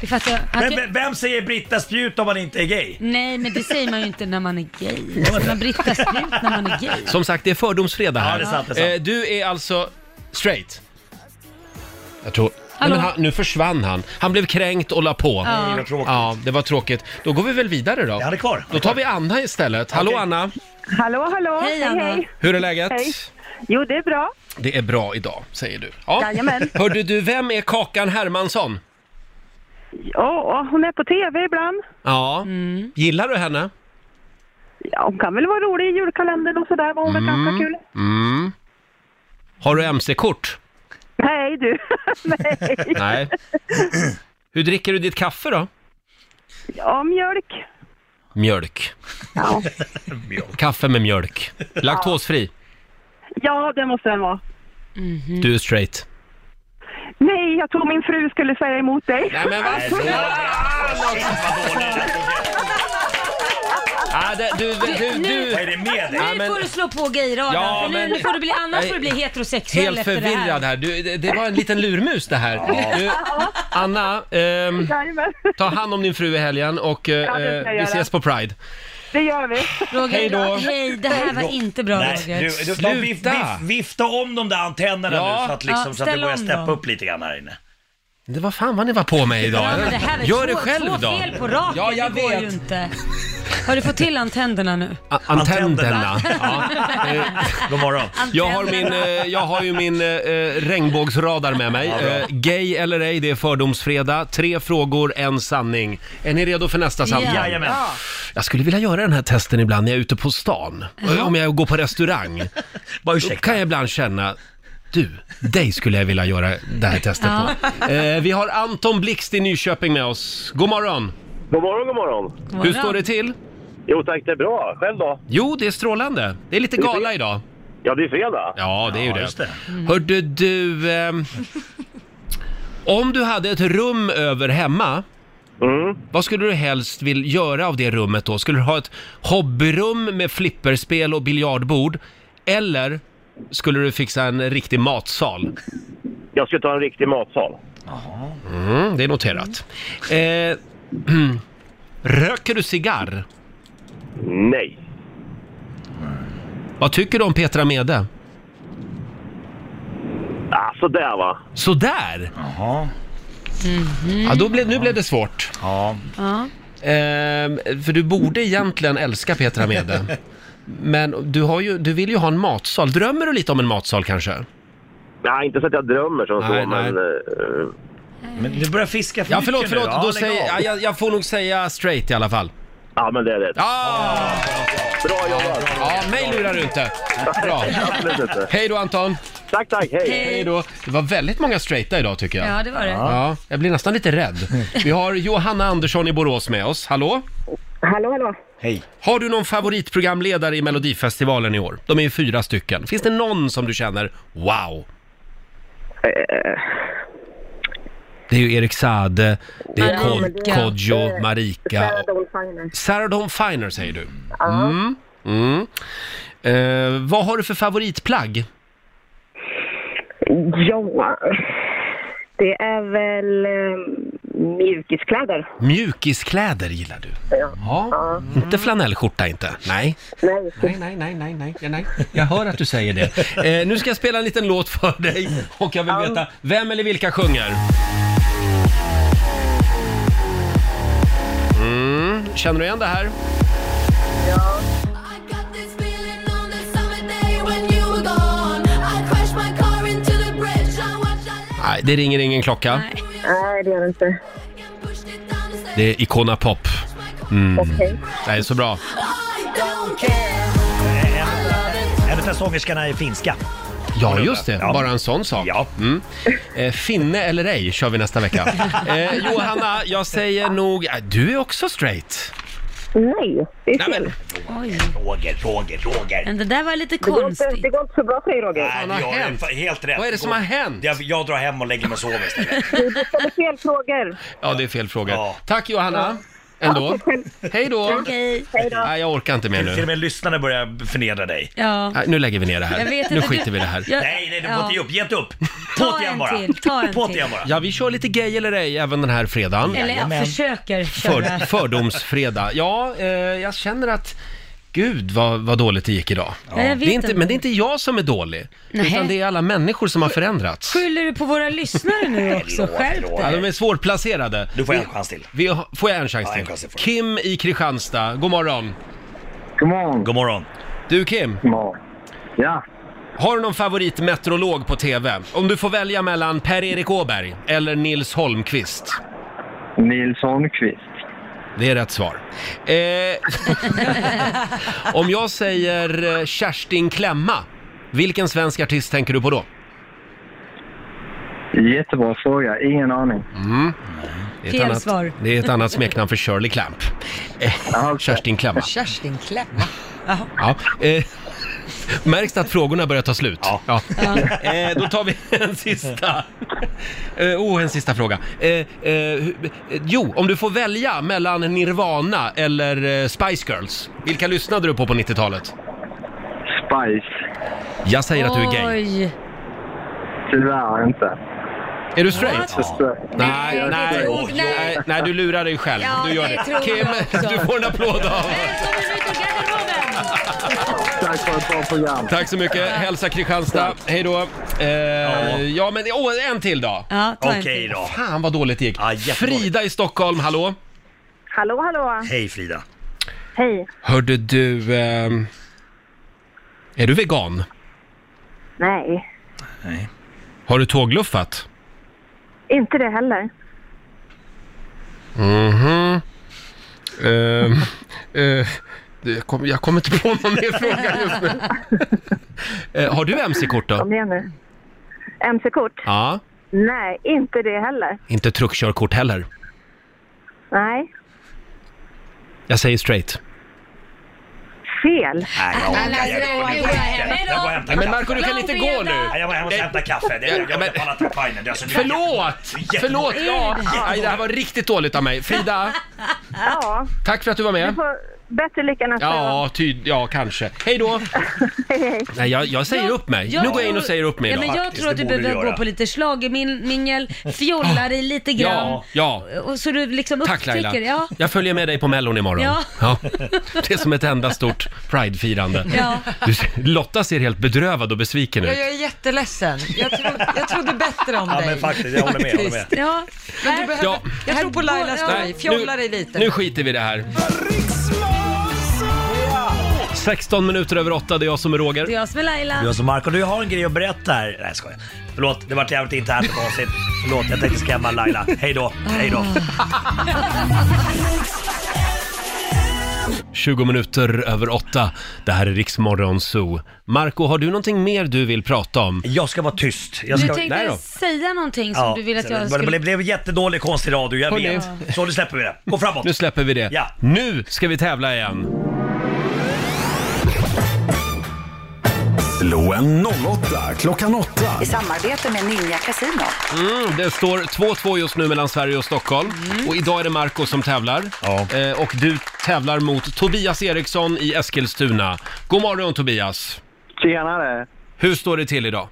Det fattar jag. Han
Men,
kan-
men vem säger Britta Spjut om man inte är gay?
Nej, men det säger man ju inte när man är gay. Alltså, Man Britta Spjut när man är gay.
Som sagt, det är fördomsfredag här.
Ja, det är sant, det är sant.
Eh, Du är alltså straight. Jag tror... Nej,
Hallå?
men han, nu försvann han. Han blev kränkt och la på.
Ja.
vad Mm,
Nej,
tråkigt.
Ja, det var tråkigt. Då går vi väl vidare då.
Han är kvar.
Då tar vi Anna istället. Hallå Anna!
Hallå, hallå!
Hej, Anna.
Hur är läget?
Hej. Jo, det är bra.
Det är bra idag, säger du.
Jajamän.
Hörde du, vem är Kakan Hermansson?
Ja, hon är på tv ibland.
Ja.
Mm.
Gillar du henne?
Ja, hon kan väl vara rolig i julkalendern och sådär, var hon väl ganska kul.
Mm. Har du MC-kort?
Nej du, nej.
Nej. Hur dricker du ditt kaffe då?
Ja, mjölk.
Mjölk.
Ja.
Kaffe med mjölk. Laktosfri.
ja, det måste den vara.
Mhm.
Du är straight.
Nej, jag tror min fru skulle säga emot dig.
Nej, men vad Ah, det, du, du, du, du.
Vad är det med dig?
Ja,
Nu
men-
får du slå på gayradarn,
Ja,
för nu,
men-
nu får du bli, annars
Nej.
får du bli heterosexuell
Helt
efter det här.
förvirrad här. Du, det, det var en liten lurmus det här.
Ja.
Du, Anna, ehm,
Jajamän.
ta hand om din fru i helgen och eh,
Ja, det ska jag
vi
göra.
ses på Pride.
Det gör vi.
Roger,
Hej då.
Hej, det här var inte bra
Nej,
Roger.
du, du ska vif, vif, vifta om de där antennerna
Ja.
nu så att, liksom,
Ja,
så att det
ställ
börjar
om
steppa
dem.
upp lite grann här inne.
Det var fan vad ni var på mig idag.
Ja, men det här var
Gör
två,
det själv
två
då.
fel på raken,
Ja, jag
det går
vet.
ju inte. Har du fått till antänderna nu?
A- Antennerna. Ja.
God morgon.
Jag har, min, eh, jag har ju min eh, regnbågsradar med mig. Eh, gay eller ej, det är fördomsfredag. Tre frågor, en sanning. Är ni redo för nästa samtal?
Jajamän.
Jag skulle vilja göra den här testen ibland när jag är ute på stan. Eh, Om jag går på restaurang.
Bara
Då
ursäkta.
kan jag ibland känna, du, dig skulle jag vilja göra det här testet på. Eh, vi har Anton Blixt i Nyköping med oss. God morgon!
God morgon, god morgon.
Hur står det till?
Jo tack, det är bra. Själv då?
Jo, det är strålande. Det är lite gala idag.
Ja, det är fredag.
Ja, det är ju det.
just det.
Hörde du... ehm, om du hade ett rum över hemma, vad skulle du helst vill göra av det rummet då? Skulle du ha ett hobbyrum med flipperspel och biljardbord? Eller skulle du fixa en riktig matsal?
Jag ska ta en riktig matsal.
Mm, det är noterat. Eh, röker du cigarr?
Nej.
Vad tycker du om Petra Mede?
Ah, sådär va.
Sådär!
Jaha.
Mhm. Ja, då blev, nu blev det svårt.
Ja.
Ja.
Ehm, för du borde egentligen älska Petra Mede. Men du, har ju, du vill ju ha en matsal. Drömmer du lite om en matsal kanske?
Nej, inte så att jag drömmer som
Nej,
så,
nej.
men... eh,
Men du börjar fiska för
Ja,
mycket
förlåt,
nu.
förlåt.
Ja,
Då
lägg
säger,
av.
ja, jag, jag får nog säga straight i alla fall.
Ja, men det är rätt.
Ah!
Bra jobbat!
Ja, mig lurar du inte. Bra.
Absolut inte.
Hej då Anton!
Tack, tack, hej!
Hej då! Det var väldigt många straighta idag tycker jag.
Ja, det var det.
Ja, jag blir nästan lite rädd. Vi har Johanna Andersson i Borås med oss. Hallå?
Hallå, hallå.
Hej. Har du någon favoritprogramledare i Melodifestivalen i år? De är ju fyra stycken. Finns det någon som du känner, wow? Eh. Det är ju Erik Saade, det är Kod-
Marika.
Kodjo, Marika.
Sarah Dawn Finer.
Sarah Dawn Finer säger du? Mm. Mm. Eh, vad har du för favoritplagg?
Ja, det är väl eh, mjukiskläder.
Mjukiskläder gillar du?
Ja.
Ja. Inte flanellskjorta inte? Nej.
Nej.
nej, nej, nej, nej, nej. Jag hör att du säger det. Eh, nu ska jag spela en liten låt för dig och jag vill veta vem eller vilka sjunger. Mm. Känner du igen det här? Nej, det ringer ingen klocka.
Nej, det gör det inte.
Det är Icona Pop. Mm.
Okej.
Nej, så bra.
En av sångerskorna är finska.
Ja, just det.
Ja.
Bara en sån sak. Mm. Eh, finne eller ej kör vi nästa vecka. Eh, Johanna, jag säger nog... eh, Du är också straight.
Nej, det är
fel.
Roger, Roger, Roger.
Men det där var lite
Det går,
konstigt.
inte, det går inte så bra för dig, Roger.
Nej, det har hänt. Helt rätt.
Vad är det som har hänt?
Jag, jag drar hem och lägger mig och sover istället.
Du du ställer fel frågor.
Ja, det är fel fråga. Tack Johanna. Ändå. Hej då.
Okej.
Nej, jag orkar inte mer
Till och
nu.
med lyssnarna börjar förnedra dig.
Ja.
Nej, nu lägger vi ner det
Jag
här.
vet
Nu
inte,
skiter
du-
vi i det här.
jag-
Nej, nej, du får
Ja.
inte ge upp. Ge inte upp.
Ta
På till
en
igen bara.
till, ta en
På
till.
till igen bara.
Ja, vi kör lite gay eller ej även den här fredagen.
Eller jag försöker köra.
För, fördomsfredag. Ja, eh, jag känner att Gud vad, vad dåligt det gick idag.
Ja, jag vet
det är inte,
inte.
men det är inte jag som är dålig,
Nej.
utan det är alla människor som har förändrats.
Skyller du på våra lyssnare nu också? Skärp
Ja,
dig.
de är svårplacerade. Du får en chans till. Vi, har- får jag en chans till? Kim i Kristianstad, god morgon. God morgon.
God morgon.
Du Kim. God morgon. Ja. Har du någon favoritmeteorolog på TV? Om du får välja mellan Per-Erik Åberg eller Nils Holmqvist? Nils Holmqvist. Det är rätt svar. Eh, om jag säger eh, Kerstin Klemma, vilken svensk artist tänker du på då?
Jättebra fråga, ingen aning.
Mm. Det är ett
Fel
annat-
svar.
Det är ett annat smeknamn för Shirley Clamp. Eh, Kerstin Klemma.
Kerstin Klemma. Jaha.
Ja. Eh, märks det att frågorna börjar ta slut? Ja. Eh, då tar vi en sista. Eh, oh, en sista fråga. Eh, eh, hu- eh, jo, om du får välja mellan Nirvana eller eh, Spice Girls, vilka lyssnade du på på 90-talet? Spice. Jag säger att du är gay.
Oj.
Tyvärr inte. Är du straight?
What? Nej,
Nej,
det
nej,
tror-
nej, nej, du lurar dig själv.
Ja,
du gör
det
det.
tror jag
Kim,
också.
du får en applåd av Tack för ett bra program. Tack så mycket. Hälsa Kristianstad. Hej då. Eh, ja. men åh, en till då.
Ja, ta en Okej till.
då.
Fan vad dåligt det gick. Frida i Stockholm, hallå.
Hallå, hallå.
Hej Frida.
Hej.
Hörde du... ehm, är du vegan?
Nej,
Har du tågluffat?
inte det heller.
Mhm. Ehm, eh, det kom, jag kommer inte på någon mer fråga just nu. Eh, har du mc-kort då?
Kom igen nu. MC-kort?
Ja.
Nej, inte det heller.
Inte truckkörkort heller.
Nej,
Jag säger straight.
fel.
alltså,
Nej, men Marco, du kan inte gå nu!
Nej, jag var hemma och hämtade kaffe. Det, jag jag pallar inte med pajnen. Det är alltså- det är
Förlåt!
jättedåligt. Det är
Förlåt!
jättedåligt.
Ja. Nej, det här var riktigt dåligt av mig. Frida,
Ja,
tack för att du var
du
med.
får, bättre lycka nästa gång.
Ja, tyd, ja kanske. Hej då! Nej, jag, jag säger upp mig. nu går jag in och säger upp mig
ja,
idag.
men Jag
Faktiskt,
tror att
det
du
borde
behöver
göra.
gå på lite schlagermingel, fjollar dig lite grann.
Ja, ja.
Och så du liksom
Tack Laila.
upptäcker, ja.
Jag följer med dig på Mellon imorgon.
Ja.
Det är som ett enda stort Pride-firande.
Ja.
Du, Lotta ser helt bedrövad och besviken
Ja,
ut.
jag är jätteledsen. Jag, tro, jag trodde bättre om
Ja,
dig.
men faktiskt, jag håller med, jag håller med.
Ja,
men du behöver,
Ja.
Jag tror på Lailas story. Fjolla dig lite.
Nu skiter vi i det här. 16 minuter över 8, det är jag som är Roger.
Det är jag som är Laila.
Du är som Marco, du har en grej att berätta här. Nej, jag skojar. Förlåt, det vart jävligt internt och konstigt. Förlåt, jag tänkte skrämma Laila. Hej då, hej då.
20 minuter över 8. Det här är Riksmorgon Zoo. Marco, har du någonting mer du vill prata om?
Jag ska vara tyst.
Du tänkte säga någonting som du ville att jag
Det
skulle...
blev, blev jättedålig konstig radio, jag
Hörrni.
vet. Så nu släpper vi det. Gå framåt.
Nu släpper vi det.
Ja.
Nu ska vi tävla igen.
Slå en 08 klockan 8.
I samarbete med Ninja Casino.
Mm, det står 2-2 just nu mellan Sverige och Stockholm. Och idag är det Marco som tävlar. Eh, och du tävlar mot Tobias Eriksson i Eskilstuna. God morgon Tobias!
Tjenare!
Hur står det till idag?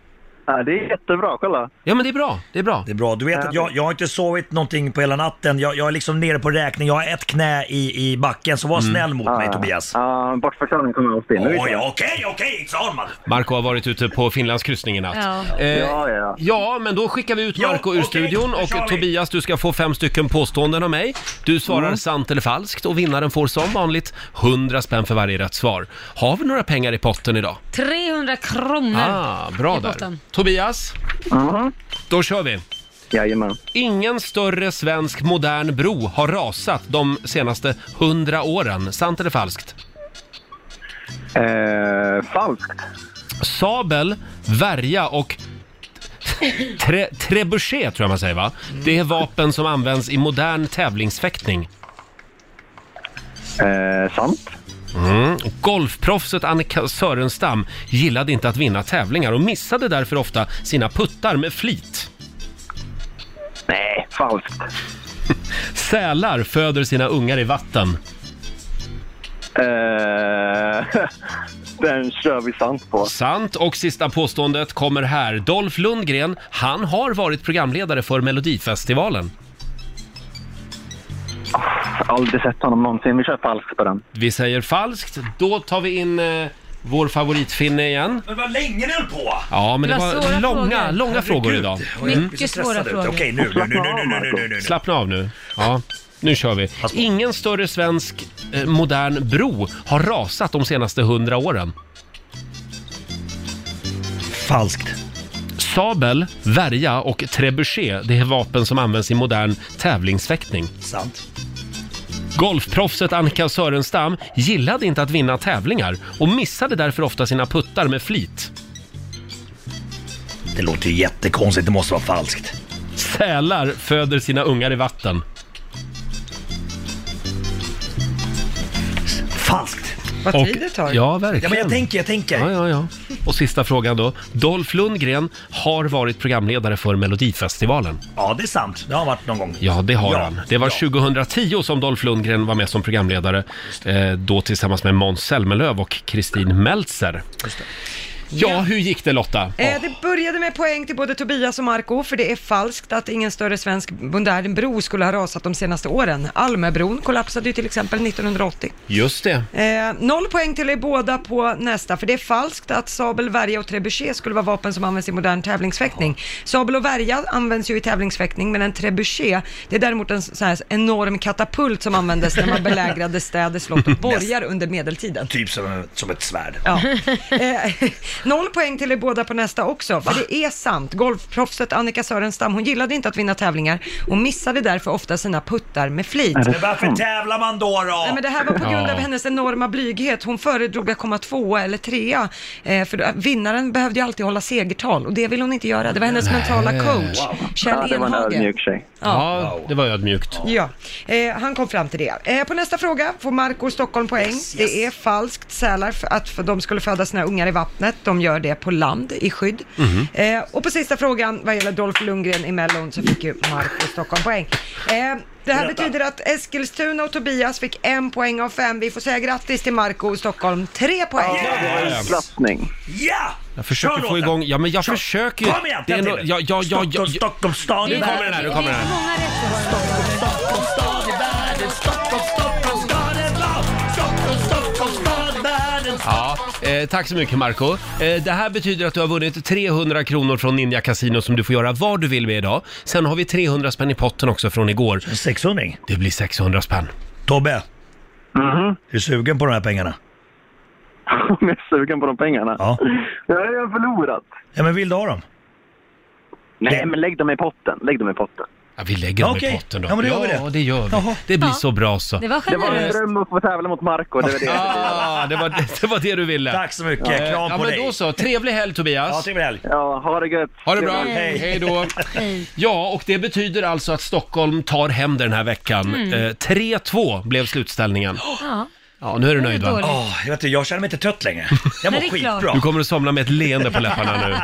Ja, det är jättebra, kolla.
Ja men det är bra, det är bra.
Det är bra. Du vet att jag, jag har inte sovit någonting på hela natten. Jag, jag är liksom nere på räkning. Jag har ett knä i, i backen, så var
Mm.
snäll mot
Ah.
mig Tobias.
Ja, bortförklaring kommer alltid in.
Oj, okej, okej, liksom. it's on man.
Marco har varit ute på Finlandskryssning i natt.
Ja.
ja, ja. ja, men då skickar vi ut Marco ur studion och Tobias, du ska få fem stycken påståenden av mig. Du svarar sant eller falskt och vinnaren får som vanligt 100 spänn för varje rätt svar. Har vi några pengar i potten idag?
300 kronor
Ah, bra
i
där.
potten.
Tobias, då kör vi.
Mhm. Jajamän.
Ingen större svensk modern bro har rasat de senaste 100 åren. Sant eller falskt?
Eh, falskt.
Sabel, värja och tre, trebuchet tror jag man säger va? Det är vapen som används i modern tävlingsfäktning.
Eh, sant.
Mm. Golfproffset Annika Sörenstam gillade inte att vinna tävlingar och missade därför ofta sina puttar med flit.
Nej, falskt.
Sälar föder sina ungar i vatten.
Eh, den kör vi sant på.
Sant. Och sista påståendet kommer här. Dolph Lundgren, han har varit programledare för Melodifestivalen.
Aldrig sett honom någonsin. Vi kör falskt på den.
Vi säger falskt. Då tar vi in eh, vår favoritfinne igen.
Men vad länge ni höll på!
Ja, men det,
Det var
var
svåra
långa,
frågor.
långa frågor
Herregud,
idag. Mm.
jag blir Mycket så stressad svåra ut. frågor. Okej, nu, nu, nu, nu, nu, nu, nu, nu, nu.
Slappna av nu. Ja, nu kör vi. Ingen större svensk eh, modern bro har rasat de senaste hundra åren.
Falskt.
Sabel, värja och trebuchet, det är vapen som används i modern tävlingsfäktning.
Sant.
Golfproffset Annika Sörenstam gillade inte att vinna tävlingar och missade därför ofta sina puttar med flit.
Det låter ju jättekonstigt, det måste vara falskt.
Sälar föder sina ungar i vatten.
Falskt.
Vad Och- tid det tar. ja, verkligen.
Ja, men jag tänker, jag tänker.
Ja, ja, ja. Och sista frågan då. Dolph Lundgren har varit programledare för Melodifestivalen.
Ja, det är sant. Det har varit någon gång.
Ja, det har
Ja,
han. Det var 2010 som Dolph Lundgren var med som programledare. Eh, då tillsammans med Måns Zelmerlöw och Kristin Meltzer. Ja, hur gick det Lotta?
Eh, det började med poäng till både Tobias och Marco för det är falskt att ingen större svensk modern bro skulle ha rasat de senaste åren. Almöbron kollapsade ju till exempel 1980.
Just det.
Eh, noll poäng till er båda på nästa, för det är falskt att sabel, värja och trebuchet skulle vara vapen som används i modern tävlingsfäktning. Sabel och värja används ju i tävlingsfäktning, men en trebuchet, det är däremot en så här enorm katapult som användes när man belägrade städer, slott och borgar under medeltiden.
Typ som, som ett svärd.
Ja. Eh, noll poäng till er båda på nästa också, för det är sant. Golfproffset Annika Sörenstam, hon gillade inte att vinna tävlingar och missade därför ofta sina puttar med flit.
Men varför tävlar man då? då?
Nej, men det här var på grund
Ja.
av hennes enorma blyghet. Hon föredrog att komma tvåa eller trea. Eh, för då- vinnaren behövde ju alltid hålla segertal och det vill hon inte göra. Det var hennes
Nej.
mentala coach,
Ja,
Kjell
det var en
Enhage.
ödmjuk tjej.
Ja, det var ödmjukt.
Ja, eh, han kom fram till det. Eh, på nästa fråga får Marco Stockholm poäng. Det är falskt sälar för att för de skulle föda sina ungar i vattnet. De gör det på land i skydd.
Mhm.
Eh, och på sista frågan vad gäller Dolph Lundgren i Mellon så fick ju Marco Stockholm poäng. Eh, Det här betyder att Eskilstuna och Tobias fick en poäng av fem. Vi får säga grattis till Marco i Stockholm. Tre poäng.
Klappning.
Ja!
Jag försöker
Kör
få
låten.
igång, ja men jag försöker ju.
Kom igen,
det är
en
nå-
till.
ja, ja, ja, ja,
Stockholm, Stockholm stad.
Nu kommer den här, nu kommer den här. Ja, eh, tack så mycket Marco. Eh, det här betyder att du har vunnit 300 kronor från Ninja Casino som du får göra vad du vill med idag. Sen har vi 300 spänn i potten också från igår.
600
Det blir 600 spänn.
Tobbe. Är du sugen på de här pengarna?
Om jag är sugen på de pengarna?
Ja.
Jag har förlorat.
Ja, men vill du ha dem?
Nej, men lägg dem i potten. Lägg dem i potten.
Ja, vi lägger dem
Okej.
i potten då.
Ja, men då gör vi
ja,
det.
det gör vi.
Jaha.
Det blir
Ja.
så bra så.
Det var en dröm att få tävla mot Marco. Det var det.
Ah, det, var, det var det du ville.
Tack så mycket.
Eh,
Kram
ja,
på
men
dig.
Då så. Trevlig helg Tobias.
Ja, trevlig
helg.
Ja, ha det gött.
Ha det bra.
Trevlig helg.
Hej. Hej då. Ja, och det betyder alltså att Stockholm tar hem det den här veckan.
Mm.
Eh, 3-2 blev slutställningen.
Ja.
Ja, nu är du nöjd va?
dåligt.
Åh, jag, vet inte, jag känner mig inte trött längre.
Jag mår Nej, det är skitbra. klart.
Du kommer att somna med ett leende på läpparna nu.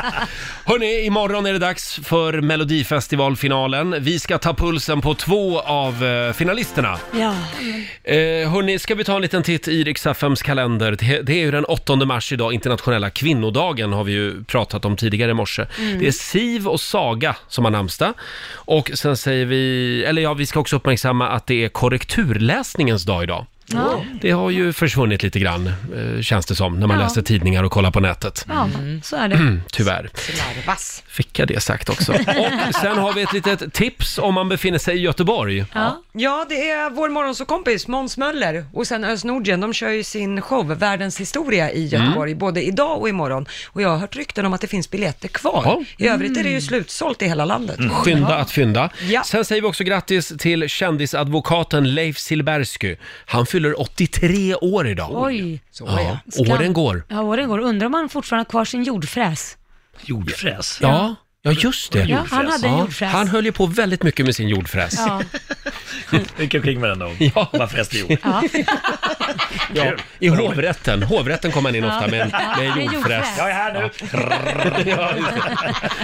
Hörni, imorgon är det dags för Melodifestivalfinalen. Vi ska ta pulsen på två av eh, finalisterna.
Ja.
Eh, hörni, ska vi ta en liten titt i Rix FMs kalender? Det- Det är ju den 8 mars idag, internationella kvinnodagen har vi ju pratat om tidigare i morse.
Mm.
Det är Siv och Saga som har namnsdag. Och sen säger vi, eller ja, vi ska också uppmärksamma att det är korrekturläsningens dag idag.
Ja.
Det har ju försvunnit lite grann, eh, känns det som, när man
Ja.
läser tidningar och kollar på nätet.
ja, så är
Mm.
det.
Tyvärr.
Slarvas.
Fick jag det sagt också. Och sen har vi ett litet tips om man befinner sig i Göteborg.
Ja. ja, det är vår morgonsåkompis Måns Möller och sen Özz Nordgren. De kör ju sin show Världens historia i
Mm.
Göteborg, både idag och imorgon. Och jag har hört rykten om att det finns biljetter kvar.
Ja.
I övrigt är det ju slutsålt i hela landet.
Mm. Skynda att fynda.
Ja.
Sen säger vi också grattis till kändisadvokaten Leif Silbersky. Han fyller 83 år idag.
Oj.
Så ja. Åren går.
Ja, åren går. Undrar om han fortfarande har kvar sin jordfräs.
Jordfräs? Ja. Ja, just det.
Ja, han hade en
Ja,
jordfräs.
Han höll ju på väldigt mycket med sin jordfräs.
Ja.
Gick omkring med den då.
Ja.
Bara fräste jord.
Ja.
Ja, I hovrätten. Hovrätten kom han in ofta med, en-
Ja,
med en jordfräs.
Jag är här nu.
Ja, just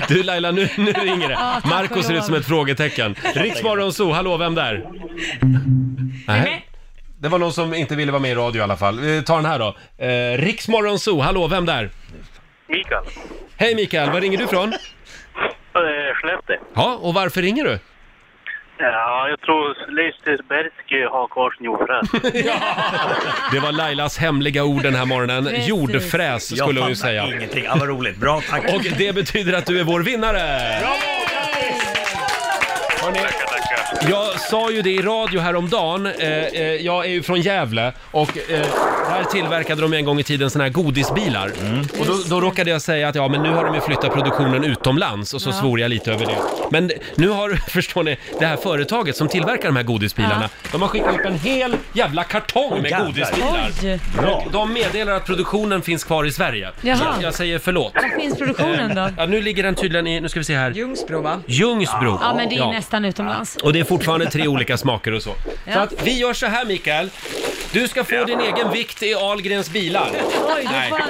det. Du Laila, nu, nu ringer det.
Ja, tack
Marco
och
ser ut
lov.
som ett frågetecken. Riksmorgon Zoo, hallå, vem där? Nej. Det var någon som inte ville vara med i radio i alla fall. Vi tar den här då. Eh, Riksmorgon Zoo, hallå, vem där?
Mikael.
Hej Mikael, var ringer du ifrån?
Eh, Skellefteå.
Ja, och varför ringer du?
Ja, jag tror Leicestersbergsky har kvar sin jordfräs.
Det var Lailas hemliga ord den här morgonen.
Precis.
Jordfräs
Jag
skulle hon ju
fattar
säga.
ingenting. Ja, vad roligt. Bra, tack.
Och det betyder att du är vår vinnare!
Tackar, tackar.
Jag sa ju det i radio häromdagen, eh, eh, jag är ju från Gävle och eh, där tillverkade de en gång i tiden såna här godisbilar.
Mm.
Och då, då råkade jag säga att ja, men nu har de ju flyttat produktionen utomlands och så
Ja.
svor jag lite över det. Men nu har, förstår ni, det här företaget som tillverkar de här godisbilarna, de har skickat upp en hel jävla kartong med
Jävlar.
godisbilar.
Oj.
Bra. De meddelar att produktionen finns kvar i Sverige.
Jaha.
Jag, jag säger förlåt.
Var finns produktionen då?
Eh, Ja, nu ligger den tydligen i, nu ska vi se här.
Ljungsbro va?
Ljungsbro.
Ja, men det är
Ja.
nästan utomlands.
Och det är fortfarande tre olika smaker och så.
Ja.
Så att vi gör så här Mikael. Du ska få din egen vikt i Ahlgrens bilar.
Oj, vad
Nej.
fan.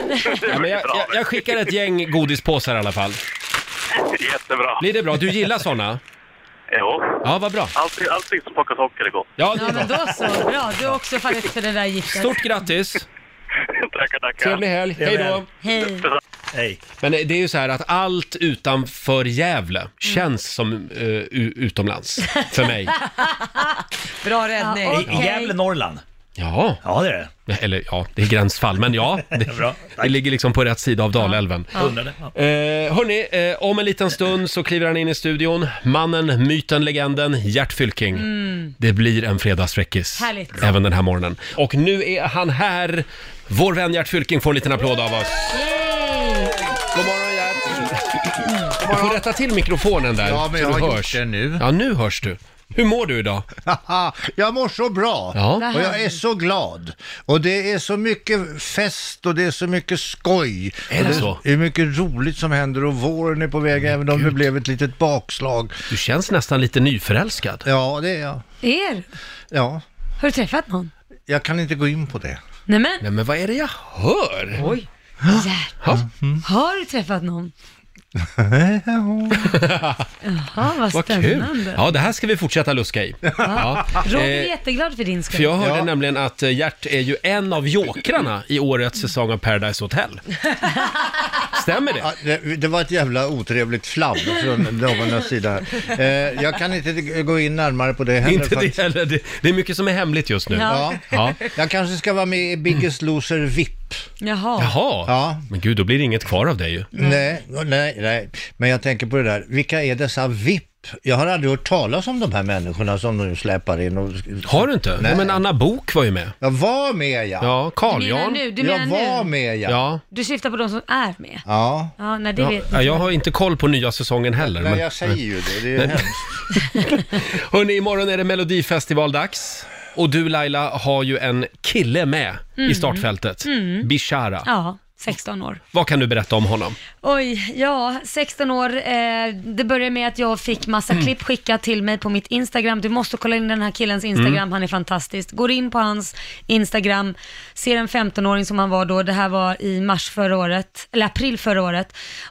Ja, men jag, jag, jag skickar ett gäng godispåsar i alla fall.
Jättebra.
Blir det bra? Du gillar såna?
Jo.
Ja, vad bra.
Allting, allting som plockar socker är gott.
Ja, det
Ja,
är
men
bra.
då så. Bra, du har också fallit för det där giftet.
Stort grattis!
Tackar, tackar.
Trevlig helg. Hej då!
Hej.
Hej.
Men det är ju så här att allt utanför Gävle känns som eh, u- utomlands för mig.
Bra räddning.
I, I Gävle, Norrland.
Ja.
Ja, det är
det. Eller ja, det är gränsfall, men ja. Det, det ligger liksom på rätt sida av Dalälven.
Ja. Undrade. Ja.
Eh, hörni, eh, om en liten stund så kliver han in i studion. Mannen, myten, legenden, Gert Fylking.
Mm.
Det blir en fredagsfräckis.
Härligt. Bra.
Även den här morgonen. Och nu är han här. Vår vän Gert Fylking får en liten applåd av oss. God morgon Gert! Du får rätta till mikrofonen där.
Ja, men
så
jag
du
har
hörs.
gjort det nu.
Ja, nu hörs du. Hur mår du idag?
Haha, jag mår så bra
Ja.
och jag är så glad. Och det är så mycket fest och det är så mycket skoj.
Är
Och
det
det
så?
är mycket roligt som händer och våren är på väg även om det blev ett litet bakslag.
Du känns nästan lite nyförälskad.
Ja, det är jag.
Er?
Ja,
Har du träffat någon?
jag kan inte gå in på det.
Nej men,
Nej, men vad är det jag hör?
Oj. Gert. Har du träffat någon?
Äh?
Jaha, vad spännande.
Ja, det här ska vi fortsätta luska i. Ja.
Roger är
Eh,
jätteglad för din skull.
För jag hörde nämligen att eh, Gert är ju en av jokrarna i årets säsong av Paradise Hotel. Stämmer det?
det? Det var ett jävla otrevligt flabb från damernas sida. här. Eh, jag kan inte gå in närmare på det heller.
Inte det
faktiskt.
heller. Det, det är mycket som är hemligt just nu.
Ja.
Ja.
Jag kanske ska vara med i Biggest Loser VIP.
Jaha.
Jaha.
Ja.
Men gud, då blir det inget kvar av dig ju.
Nej, nej, nej. Men jag tänker på det där, vilka är dessa VIP? Jag har aldrig hört talas om de här människorna som de släpar in. Och...
Har du inte? Ja, men Anna Bok var ju med.
Jag var med ja.
Ja, Carl
Du menar
Jan.
nu, du
jag
menar nu.
var med ja.
Ja.
Du syftar på de som är med?
Ja.
Ja, nej det
Ja,
vet
ja, jag har inte koll på nya säsongen heller.
Nej, jag säger ju det. Det är hemskt.
Hörni, imorgon är det Melodifestivaldags. Och du Laila har ju en kille med
Mm.
i startfältet.
Mm.
Bishara.
Ja, 16 år.
Vad kan du berätta om honom?
Oj, ja, 16 år. Eh, det började med att jag fick massa klipp skickat till mig på mitt Instagram. Du måste kolla in den här killens Instagram,
Mm.
han är fantastisk. Går in på hans Instagram, ser en 15-åring som han var då. Det här var i mars förra året, eller april förra året.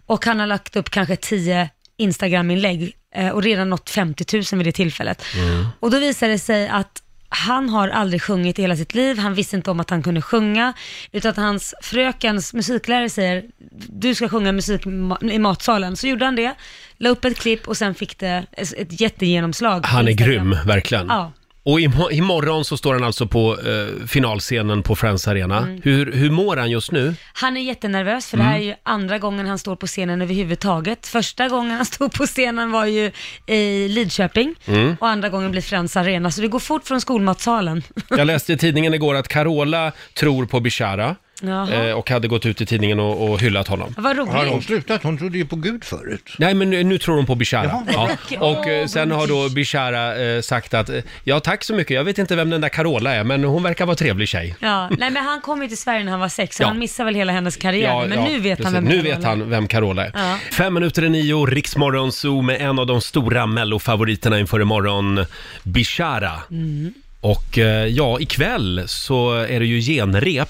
Och han har lagt upp kanske 10 Instagram-inlägg eh, och redan nått 50 000 vid det tillfället.
Mm.
Och då visade det sig att han har aldrig sjungit i hela sitt liv, han visste inte om att han kunde sjunga, utan att hans frökens musiklärare säger, du ska sjunga musik ma- i matsalen. Så gjorde han det, la upp ett klipp och sen fick det ett ett jättegenomslag. på
Han är
Instagram.
grym, verkligen.
Ja.
Och imo- imorgon så står han alltså på eh, finalscenen på Friends Arena.
Mm.
Hur, hur mår han just nu?
Han är jättenervös för det
Mm.
här är ju andra gången han står på scenen överhuvudtaget. Första gången han stod på scenen var ju i Lidköping
Mm.
och andra gången blir Friends Arena, så det går fort från skolmatsalen.
Jag läste i tidningen igår att Carola tror på Bishara
Jaha.
eh, och hade gått ut i tidningen och, och hyllat honom.
Vad roligt. Har hon
slutat? Hon trodde ju på Gud förut.
Nej, men nu, nu tror hon på Bishara. Ja.
Jaha.
Och eh, sen har då Bishara eh, sagt att eh, ja, tack så mycket. Jag vet inte vem den där Carola är, men hon verkar vara trevlig tjej.
Ja, nej men han kom ju till Sverige när han var sex, så
Ja.
han missade väl hela hennes karriär.
Ja,
men
ja,
nu vet
precis.
han vem
Nu
Carola
vet han vem Carola är.
Ja.
Fem minuter i nio, Riksmorgon Zoo med en av de stora mellofavoriterna inför imorgon, Bishara.
Mm,
Och eh, ja, ikväll så är det ju genrep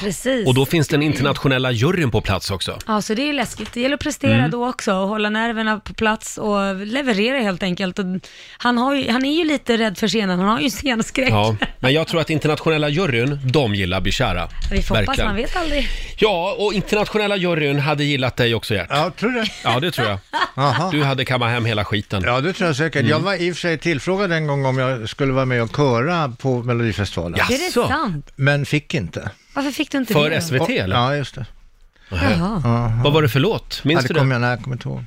precis.
och då finns den internationella juryn på plats också.
Ja, så det är ju läskigt. Det gäller att prestera
Mm.
då också och hålla nerverna på plats och leverera helt enkelt. Och han, har ju, han är ju lite rädd för scenen, han har ju scenskräck.
Ja, men jag tror att internationella juryn, de gillar Bishara.
Vi får hoppas, man vet aldrig.
Ja, och internationella juryn hade gillat dig också Gert.
Ja, tror du
Ja, det tror jag.
Aha.
Du hade kammat hem hela skiten.
Ja, det tror jag säkert. Mm.
Mm.
Jag var i och för sig tillfrågad en gång om jag skulle vara med och köra på Melodifestivalen.
Är det sant?
Men fick inte.
Varför fick du inte det? då?
Ja, just det.
Jaha.
Vad var det för låt? Minns
ja,
du
det?
det?
Kommer jag, nej, jag kommer inte ihåg.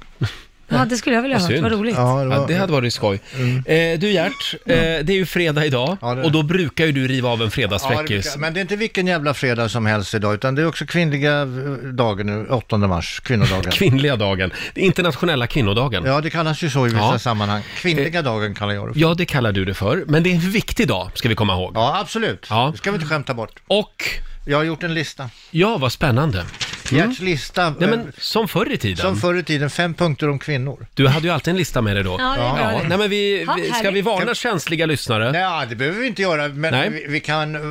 Ja, det skulle jag vilja
Vad
ha hört.
synd.
Vad roligt.
Ja, det, hade varit skoj. Eh, du Gert, eh, det är ju fredag idag och då brukar ju du riva av en
Ja, det
fredagsfräckis.
brukar- men det är inte vilken jävla fredag som helst idag, utan det är också kvinnliga eh, dagen nu, 8 mars, kvinnodagen.
Kvinnliga dagen, Det är internationella kvinnodagen.
Ja, det kallas ju så i vissa
Ja. Eh,
sammanhang. Kvinnliga dagen kallar jag det för.
Ja, det kallar du det för, men det är en viktig dag, ska vi komma ihåg.
Ja, absolut.
Ja.
Det ska vi inte skämta bort.
Och?
Jag har gjort en lista.
Ja, vad spännande. Mm.
Gerts lista.
Nej,
eh,
men som förr i tiden.
Som förr i tiden, fem punkter om kvinnor.
Du hade ju alltid en lista med dig då.
Ja, det är bra det.
Nej, men vi,
Ja,
vi, ska
härligt.
vi varna känsliga lyssnare?
Nej, det behöver vi inte göra,
Nej.
men vi, vi kan eh,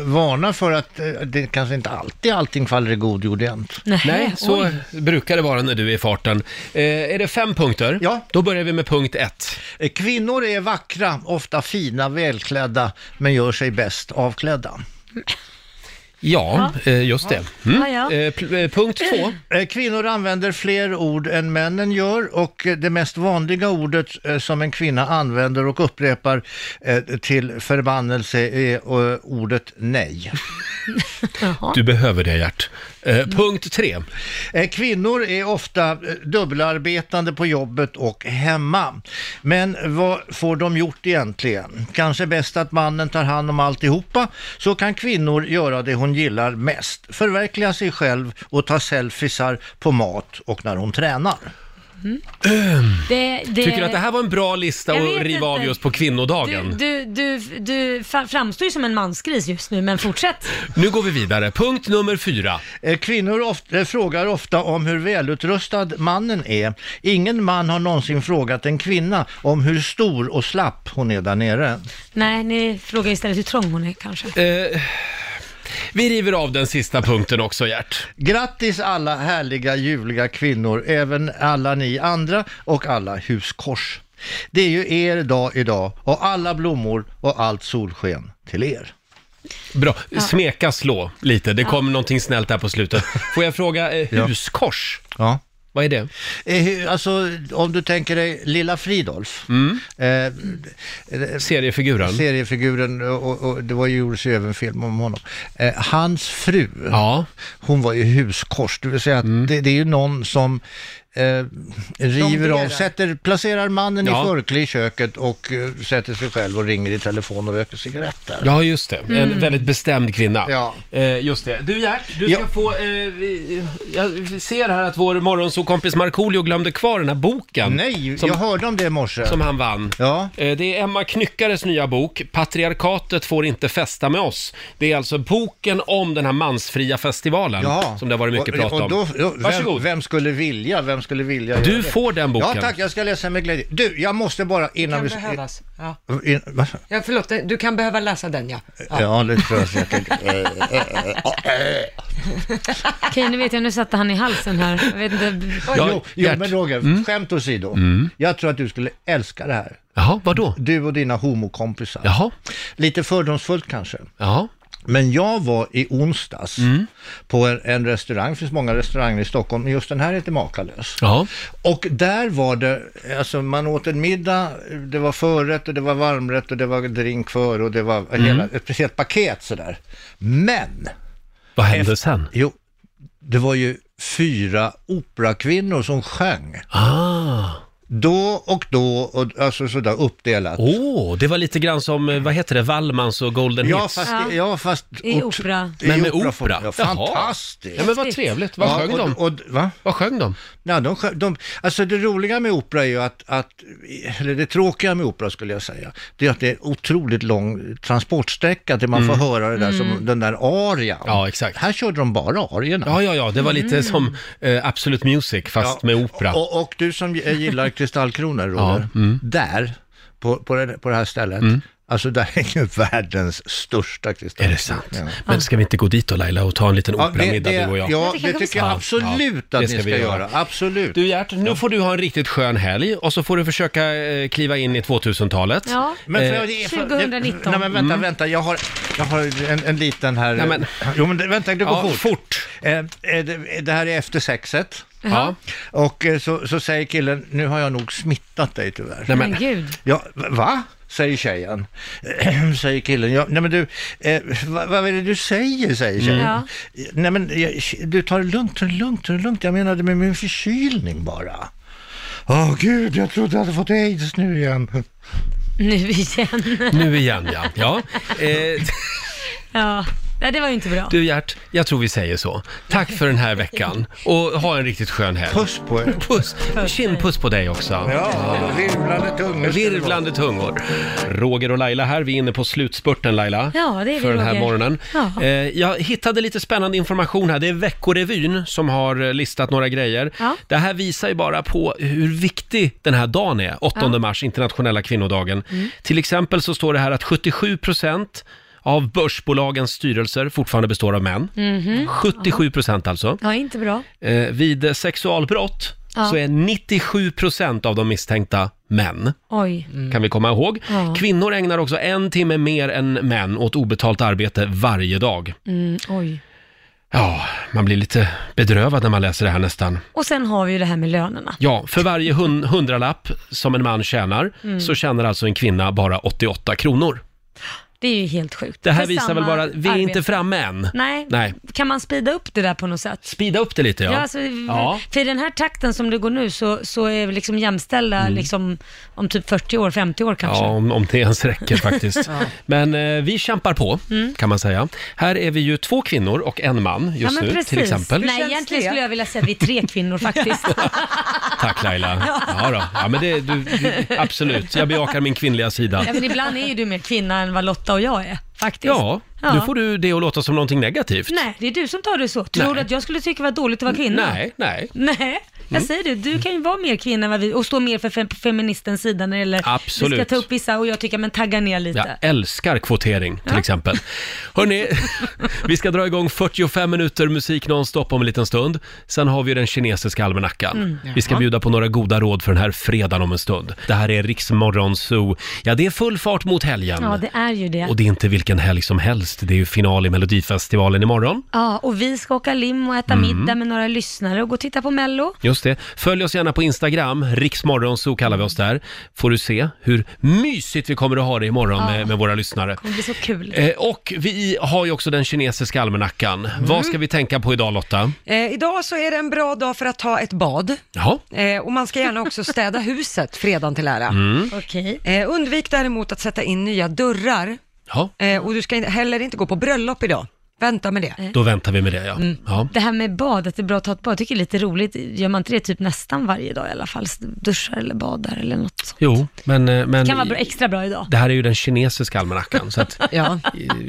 varna för att eh, det kanske inte alltid allting faller i god jord jämt.
Nej, så brukar det vara när du är i farten. Eh, är det fem punkter? Ja. Då börjar vi med punkt ett.
Eh, Kvinnor är vackra, ofta fina, välklädda, men gör sig bäst avklädda.
Ja, eh, just det. Mm. Eh, pl- eh, punkt två.
Eh, Kvinnor använder fler ord än männen gör och eh, det mest vanliga ordet eh, som en kvinna använder och upprepar eh, till förbannelse är eh, ordet nej.
Du behöver det, Gert. Eh, punkt tre.
Eh, Kvinnor är ofta eh, dubbelarbetande på jobbet och hemma. Men vad får de gjort egentligen? Kanske bäst att mannen tar hand om alltihopa, så kan kvinnor göra det hon gillar mest. Förverkliga sig själv och ta selfiesar på mat och när hon tränar.
Det, det...
Tycker du att det här var en bra lista
Jag
att
vet
riva av
inte.
just på kvinnodagen?
Du, du, du, du fa- framstår ju som en mansgris just nu, men fortsätt.
Nu går vi vidare. Punkt nummer fyra.
Eh, Kvinnor ofta, eh, frågar ofta om hur välutrustad mannen är. Ingen man har någonsin frågat en kvinna om hur stor och slapp hon är där nere.
Nej, ni frågar istället hur trång hon är kanske.
Eh, Vi river av den sista punkten också, Gert.
Grattis alla härliga, ljuvliga kvinnor, även alla ni andra och alla huskors. Det är ju er dag idag och alla blommor och allt solsken till er.
Bra. Smeka, slå lite. Det kom någonting snällt där på slutet. Får jag fråga, eh,
Ja.
huskors?
Ja.
Vad är det?
Alltså, om du tänker dig Lilla Fridolf. Eh,
Mm. seriefiguren.
Seriefiguren, och, och det var ju, gjordes ju även film om honom. Eh, hans fru, hon var ju huskors, det vill säga att
Mm.
det, det är ju någon som eh, river
Plomberar.
av, sätter, placerar mannen
Ja.
i förkle i köket och eh, sätter sig själv och ringer i telefon och röker cigaretter.
Ja, just det. En
Mm.
väldigt bestämd kvinna.
Ja.
Eh, just det. Du Gert, du ska få... Eh, vi- jag ser här att vår morgonsåkompis Markoolio glömde kvar den här boken.
Nej, jag hörde om det i morse.
Som han vann.
Ja.
Eh, det är Emma Knyckares nya bok, Patriarkatet får inte fästa med oss. Det är alltså boken om den här mansfria festivalen
Ja.
som det har varit mycket prat
och,
om.
och då, ja,
Varsågod.
vem, vem skulle vilja, vem skulle vilja
Du
göra det?
får den boken.
Ja tack, jag ska läsa med glädje. Du, jag måste bara innan
kan
vi...
behövas. Ja.
In, va?
Ja, förlåt, du kan behöva läsa den ja.
Ja. det tror jag säkert. Eh,
Okej, nu vet jag, nu satte han i halsen här. Jag vet inte.
jo, jo men Roger,
Mm.
skämt åsido. Jag tror att du skulle älska det här.
Jaha, vadå?
Du och dina homokompisar.
Jaha.
Lite fördomsfullt kanske.
Jaha. Mm.
Men jag var i onsdags på en, en restaurang, det finns många restauranger i Stockholm, men just den här heter Makalös.
Ja.
Och där var det, alltså man åt en middag, det var förrätt och det var varmrätt och det var drink för och det var
Mm.
hela, ett speciellt paket sådär. Men!
Vad hände sen?
Jo, det var ju fyra operakvinnor som sjöng.
Ah.
Då och då, och, alltså sådär uppdelat.
Åh, det var lite grann som, eh, vad heter det, Wallmans och Golden
Ja,
Hits?
fast, ja, fast
I
ot-
opera.
Men med
opera-
opera?
Ja,
Jaha.
fantastiskt!
Ja, men vad trevligt. Vad sjöng
och,
de?
Och, va?
Vad sjöng de?
Ja, de, sjö- de? Alltså det roliga med opera är ju att, att, eller det tråkiga med opera skulle jag säga, det är att det är otroligt lång transportsträcka till man
Mm.
får höra det där
Mm.
som den där arian.
Ja, exakt.
Här körde de bara arierna.
Ja, ja, ja, det var lite
Mm.
som eh, Absolute Music fast med opera.
Och, och du som gillar kristallkronor, Roger,
Ja, mm.
där, på, på, det, på det här stället, alltså där är ju världens största kristallkronor. Är det sant?
Men ska vi inte gå dit då Laila och ta en liten
Ja, det-
operamiddag
det-
du och jag?
ja, Det kanske det vi tycker ska. jag absolut att
det
ni ska göra. Absolut.
Du Gert, nu får du ha en riktigt skön helg och så får du försöka eh, kliva in i 2000-talet.
Ja.
Men för,
Eh,
jag- för,
2019.
Nej men vänta,
Mm.
vänta. Jag har, jag har en, en liten här.
Nej, men-
Jo men det- vänta, det går
Ja,
fort.
fort.
Eh, eh, det, det här är efter sexet.
Jaha.
Och eh, så, så säger killen, nu har jag nog smittat dig tyvärr.
Nej, men- Men
gud.
Ja, va? Säger tjejen. säger killen, ja, nej men du, eh, vad, vad är det du säger? Säger tjejen.
Mm. Ja.
Nej men jag, du, tar det lugnt, ta det lugnt, ta det lugnt. Jag menade med min förkylning bara. Åh gud, jag trodde jag hade fått aids nu igen.
Nu igen.
Nu igen ja. ja. Eh,
Ja, Nej, det var ju inte bra.
du Gert, jag tror vi säger så. Tack för den här veckan och ha en riktigt skön helg.
Puss på er.
Puss. Kindpuss på dig också.
Ja, virvlande tungor.
Virvlande tungor. Roger och Laila här, vi är inne på slutspurten Laila.
Ja, det är vi,
För den här
Roger.
morgonen.
Ja.
Eh, jag hittade lite spännande information här. Det är Veckorevyn som har eh, listat några grejer.
Ja.
Det här visar ju bara på hur viktig den här dagen är, 8
Ja.
mars, internationella kvinnodagen.
Mm.
Till exempel så står det här att 77 procent av börsbolagens styrelser fortfarande består av män.
Mhm.
77 procent alltså.
Ja, inte bra.
Eh, vid eh, sexualbrott
Ja.
så är 97 procent av de misstänkta män
Oj.
kan vi komma ihåg.
Mm. Ja.
Kvinnor ägnar också en timme mer än män åt obetalt arbete varje dag.
Mm, oj.
Ja, man blir lite bedrövad när man läser det här nästan.
Och sen har vi ju det här med lönerna.
Ja, för varje hun- hundralapp som en man tjänar
Mm.
så tjänar alltså en kvinna bara 88 kronor.
Det är ju helt sjukt.
Det här
För
visar
samma
väl bara att vi är inte
arbete.
framme än.
Nej.
Nej.
Kan man spida upp det där på något sätt?
Spida upp det lite ja.
Ja, alltså,
ja.
för i den här takten som det går nu så, så är vi liksom jämställda liksom, om typ 40 år, 50 år kanske.
Mm. Ja, om, om det ens räcker faktiskt.
Ja.
Men eh, vi kämpar på,
Mm.
kan man säga. Här är vi ju två kvinnor och en man just nu, till exempel.
Nej, egentligen skulle jag vilja säga att vi är tre kvinnor faktiskt.
Tack Laila. Ja, då. ja men det, du, du, absolut. Jag bejakar min kvinnliga sida.
Ja, men ibland är ju du mer kvinna än vad Lotta och jag är, faktiskt.
Ja,
Ja.
Nu får du det att låta som någonting negativt.
Nej, det är du som tar det så. Tror
Nej.
du att jag skulle tycka det var dåligt att vara kvinna?
Nej, nej.
Nej,
Mm.
jag säger det. Du kan ju vara mer kvinna än vad vi och stå mer för fem, på feministens sida när det gäller
Absolut.
vi ska ta upp vissa och jag tycker men tagga ner
Jag
lite.
älskar kvotering till exempel. Hörni, vi ska dra igång 45 minuter musik nonstop om en liten stund. Sen har vi den kinesiska almanackan.
Mm.
Vi ska
Jaha.
bjuda på några goda råd för den här fredagen om en stund. Det här är Riksmorgon Zoo. Ja, det är full fart mot helgen.
Ja, det är ju det.
Och det är inte vilken helg som helst. Det är ju final i Melodifestivalen imorgon.
Ja, och vi ska åka lim och äta
Mm.
middag med några lyssnare och gå och titta på Mello.
Just det. Följ oss gärna på Instagram, riksmorgonso kallar vi oss där. Får du se hur mysigt vi kommer att ha det imorgon
Ja.
med, med våra lyssnare.
Det kommer bli så kul.
Eh, Och vi har ju också den kinesiska almanackan. Vad ska vi tänka på idag Lotta?
Eh, idag så är det en bra dag för att ta ett bad.
Jaha.
Eh, och man ska gärna också städa huset, fredagen till ära.
Mm.
Eh, undvik däremot att sätta in nya dörrar.
Ja.
Eh, och du ska inte- heller inte gå på bröllop idag. Vänta med det.
Då väntar vi med det ja.
Mm.
ja.
Det här med bad, att det är bra att ta ett bad, jag tycker det är lite roligt. Gör man inte det typ nästan varje dag i alla fall? Duschar eller badar eller något sånt.
Jo, men, eh, men
Det kan vara bra, extra bra idag.
det här är ju den kinesiska almanackan. Så att,
Ja.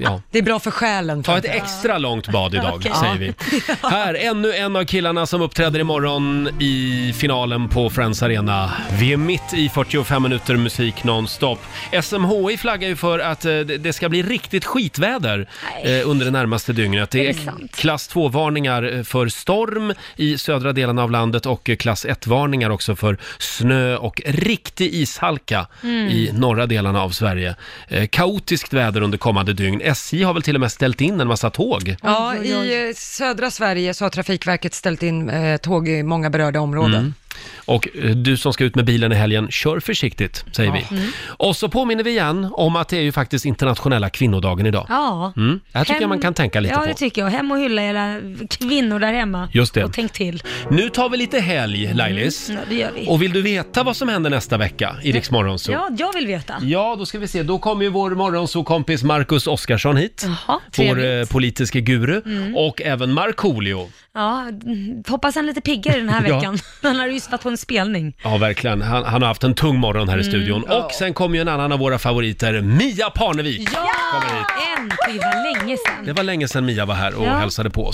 ja.
Det är bra för själen.
Ta ett extra långt bad idag,
Okej.
säger
Ja.
vi. Här, ännu en av killarna som uppträder imorgon i finalen på Friends Arena. Vi är mitt i 45 minuter musik nonstop. SMHI flaggar ju för att eh, det det ska bli riktigt skitväder eh, under det närmaste dygnet. Det
Är
är
det sant?
klass 2-varningar eh, för storm i södra delarna av landet och eh, klass 1-varningar också för snö och riktig ishalka
Mm.
i norra delarna av Sverige. Eh, Kaotiskt väder under kommande dygn. SJ har väl till och med ställt in en massa tåg.
Ja, i eh, södra Sverige så har Trafikverket ställt in eh, tåg i många berörda områden.
Mm. Och eh, du som ska ut med bilen i helgen, kör försiktigt, säger
Ja.
vi. Och så påminner vi igen om att det är ju faktiskt internationella kvinnodagen idag.
Ja.
Mm. Det här tycker jag man kan tänka lite
ja,
på.
Ja, det tycker jag. Hem och hylla era kvinnor där hemma.
Just det.
Och tänk till.
Nu tar vi lite helg, Lailis.
Mm. Ja, det gör vi.
Och vill du veta vad som händer nästa vecka i Rix Morgon Zoo?
Ja, jag vill veta.
Ja, då ska vi se. Då kommer ju vår morgonsokompis Marcus Oskarsson hit.
Jaha,
vår
trevligt.
eh, politiske guru.
Mm.
Och även Markoolio.
Ja, mm, hoppas han är lite piggare den här
Ja.
veckan. Han har ju just varit på en spelning.
Ja, verkligen. Han, han har haft en tung morgon här i
Mm.
studion. Och
Ja.
sen kommer ju en annan av våra favoriter, Mia Parnevik.
Ja!
Kommer hit.
Äntligen, det var länge sedan.
Det var länge sedan Mia var här och
Ja.
hälsade på oss.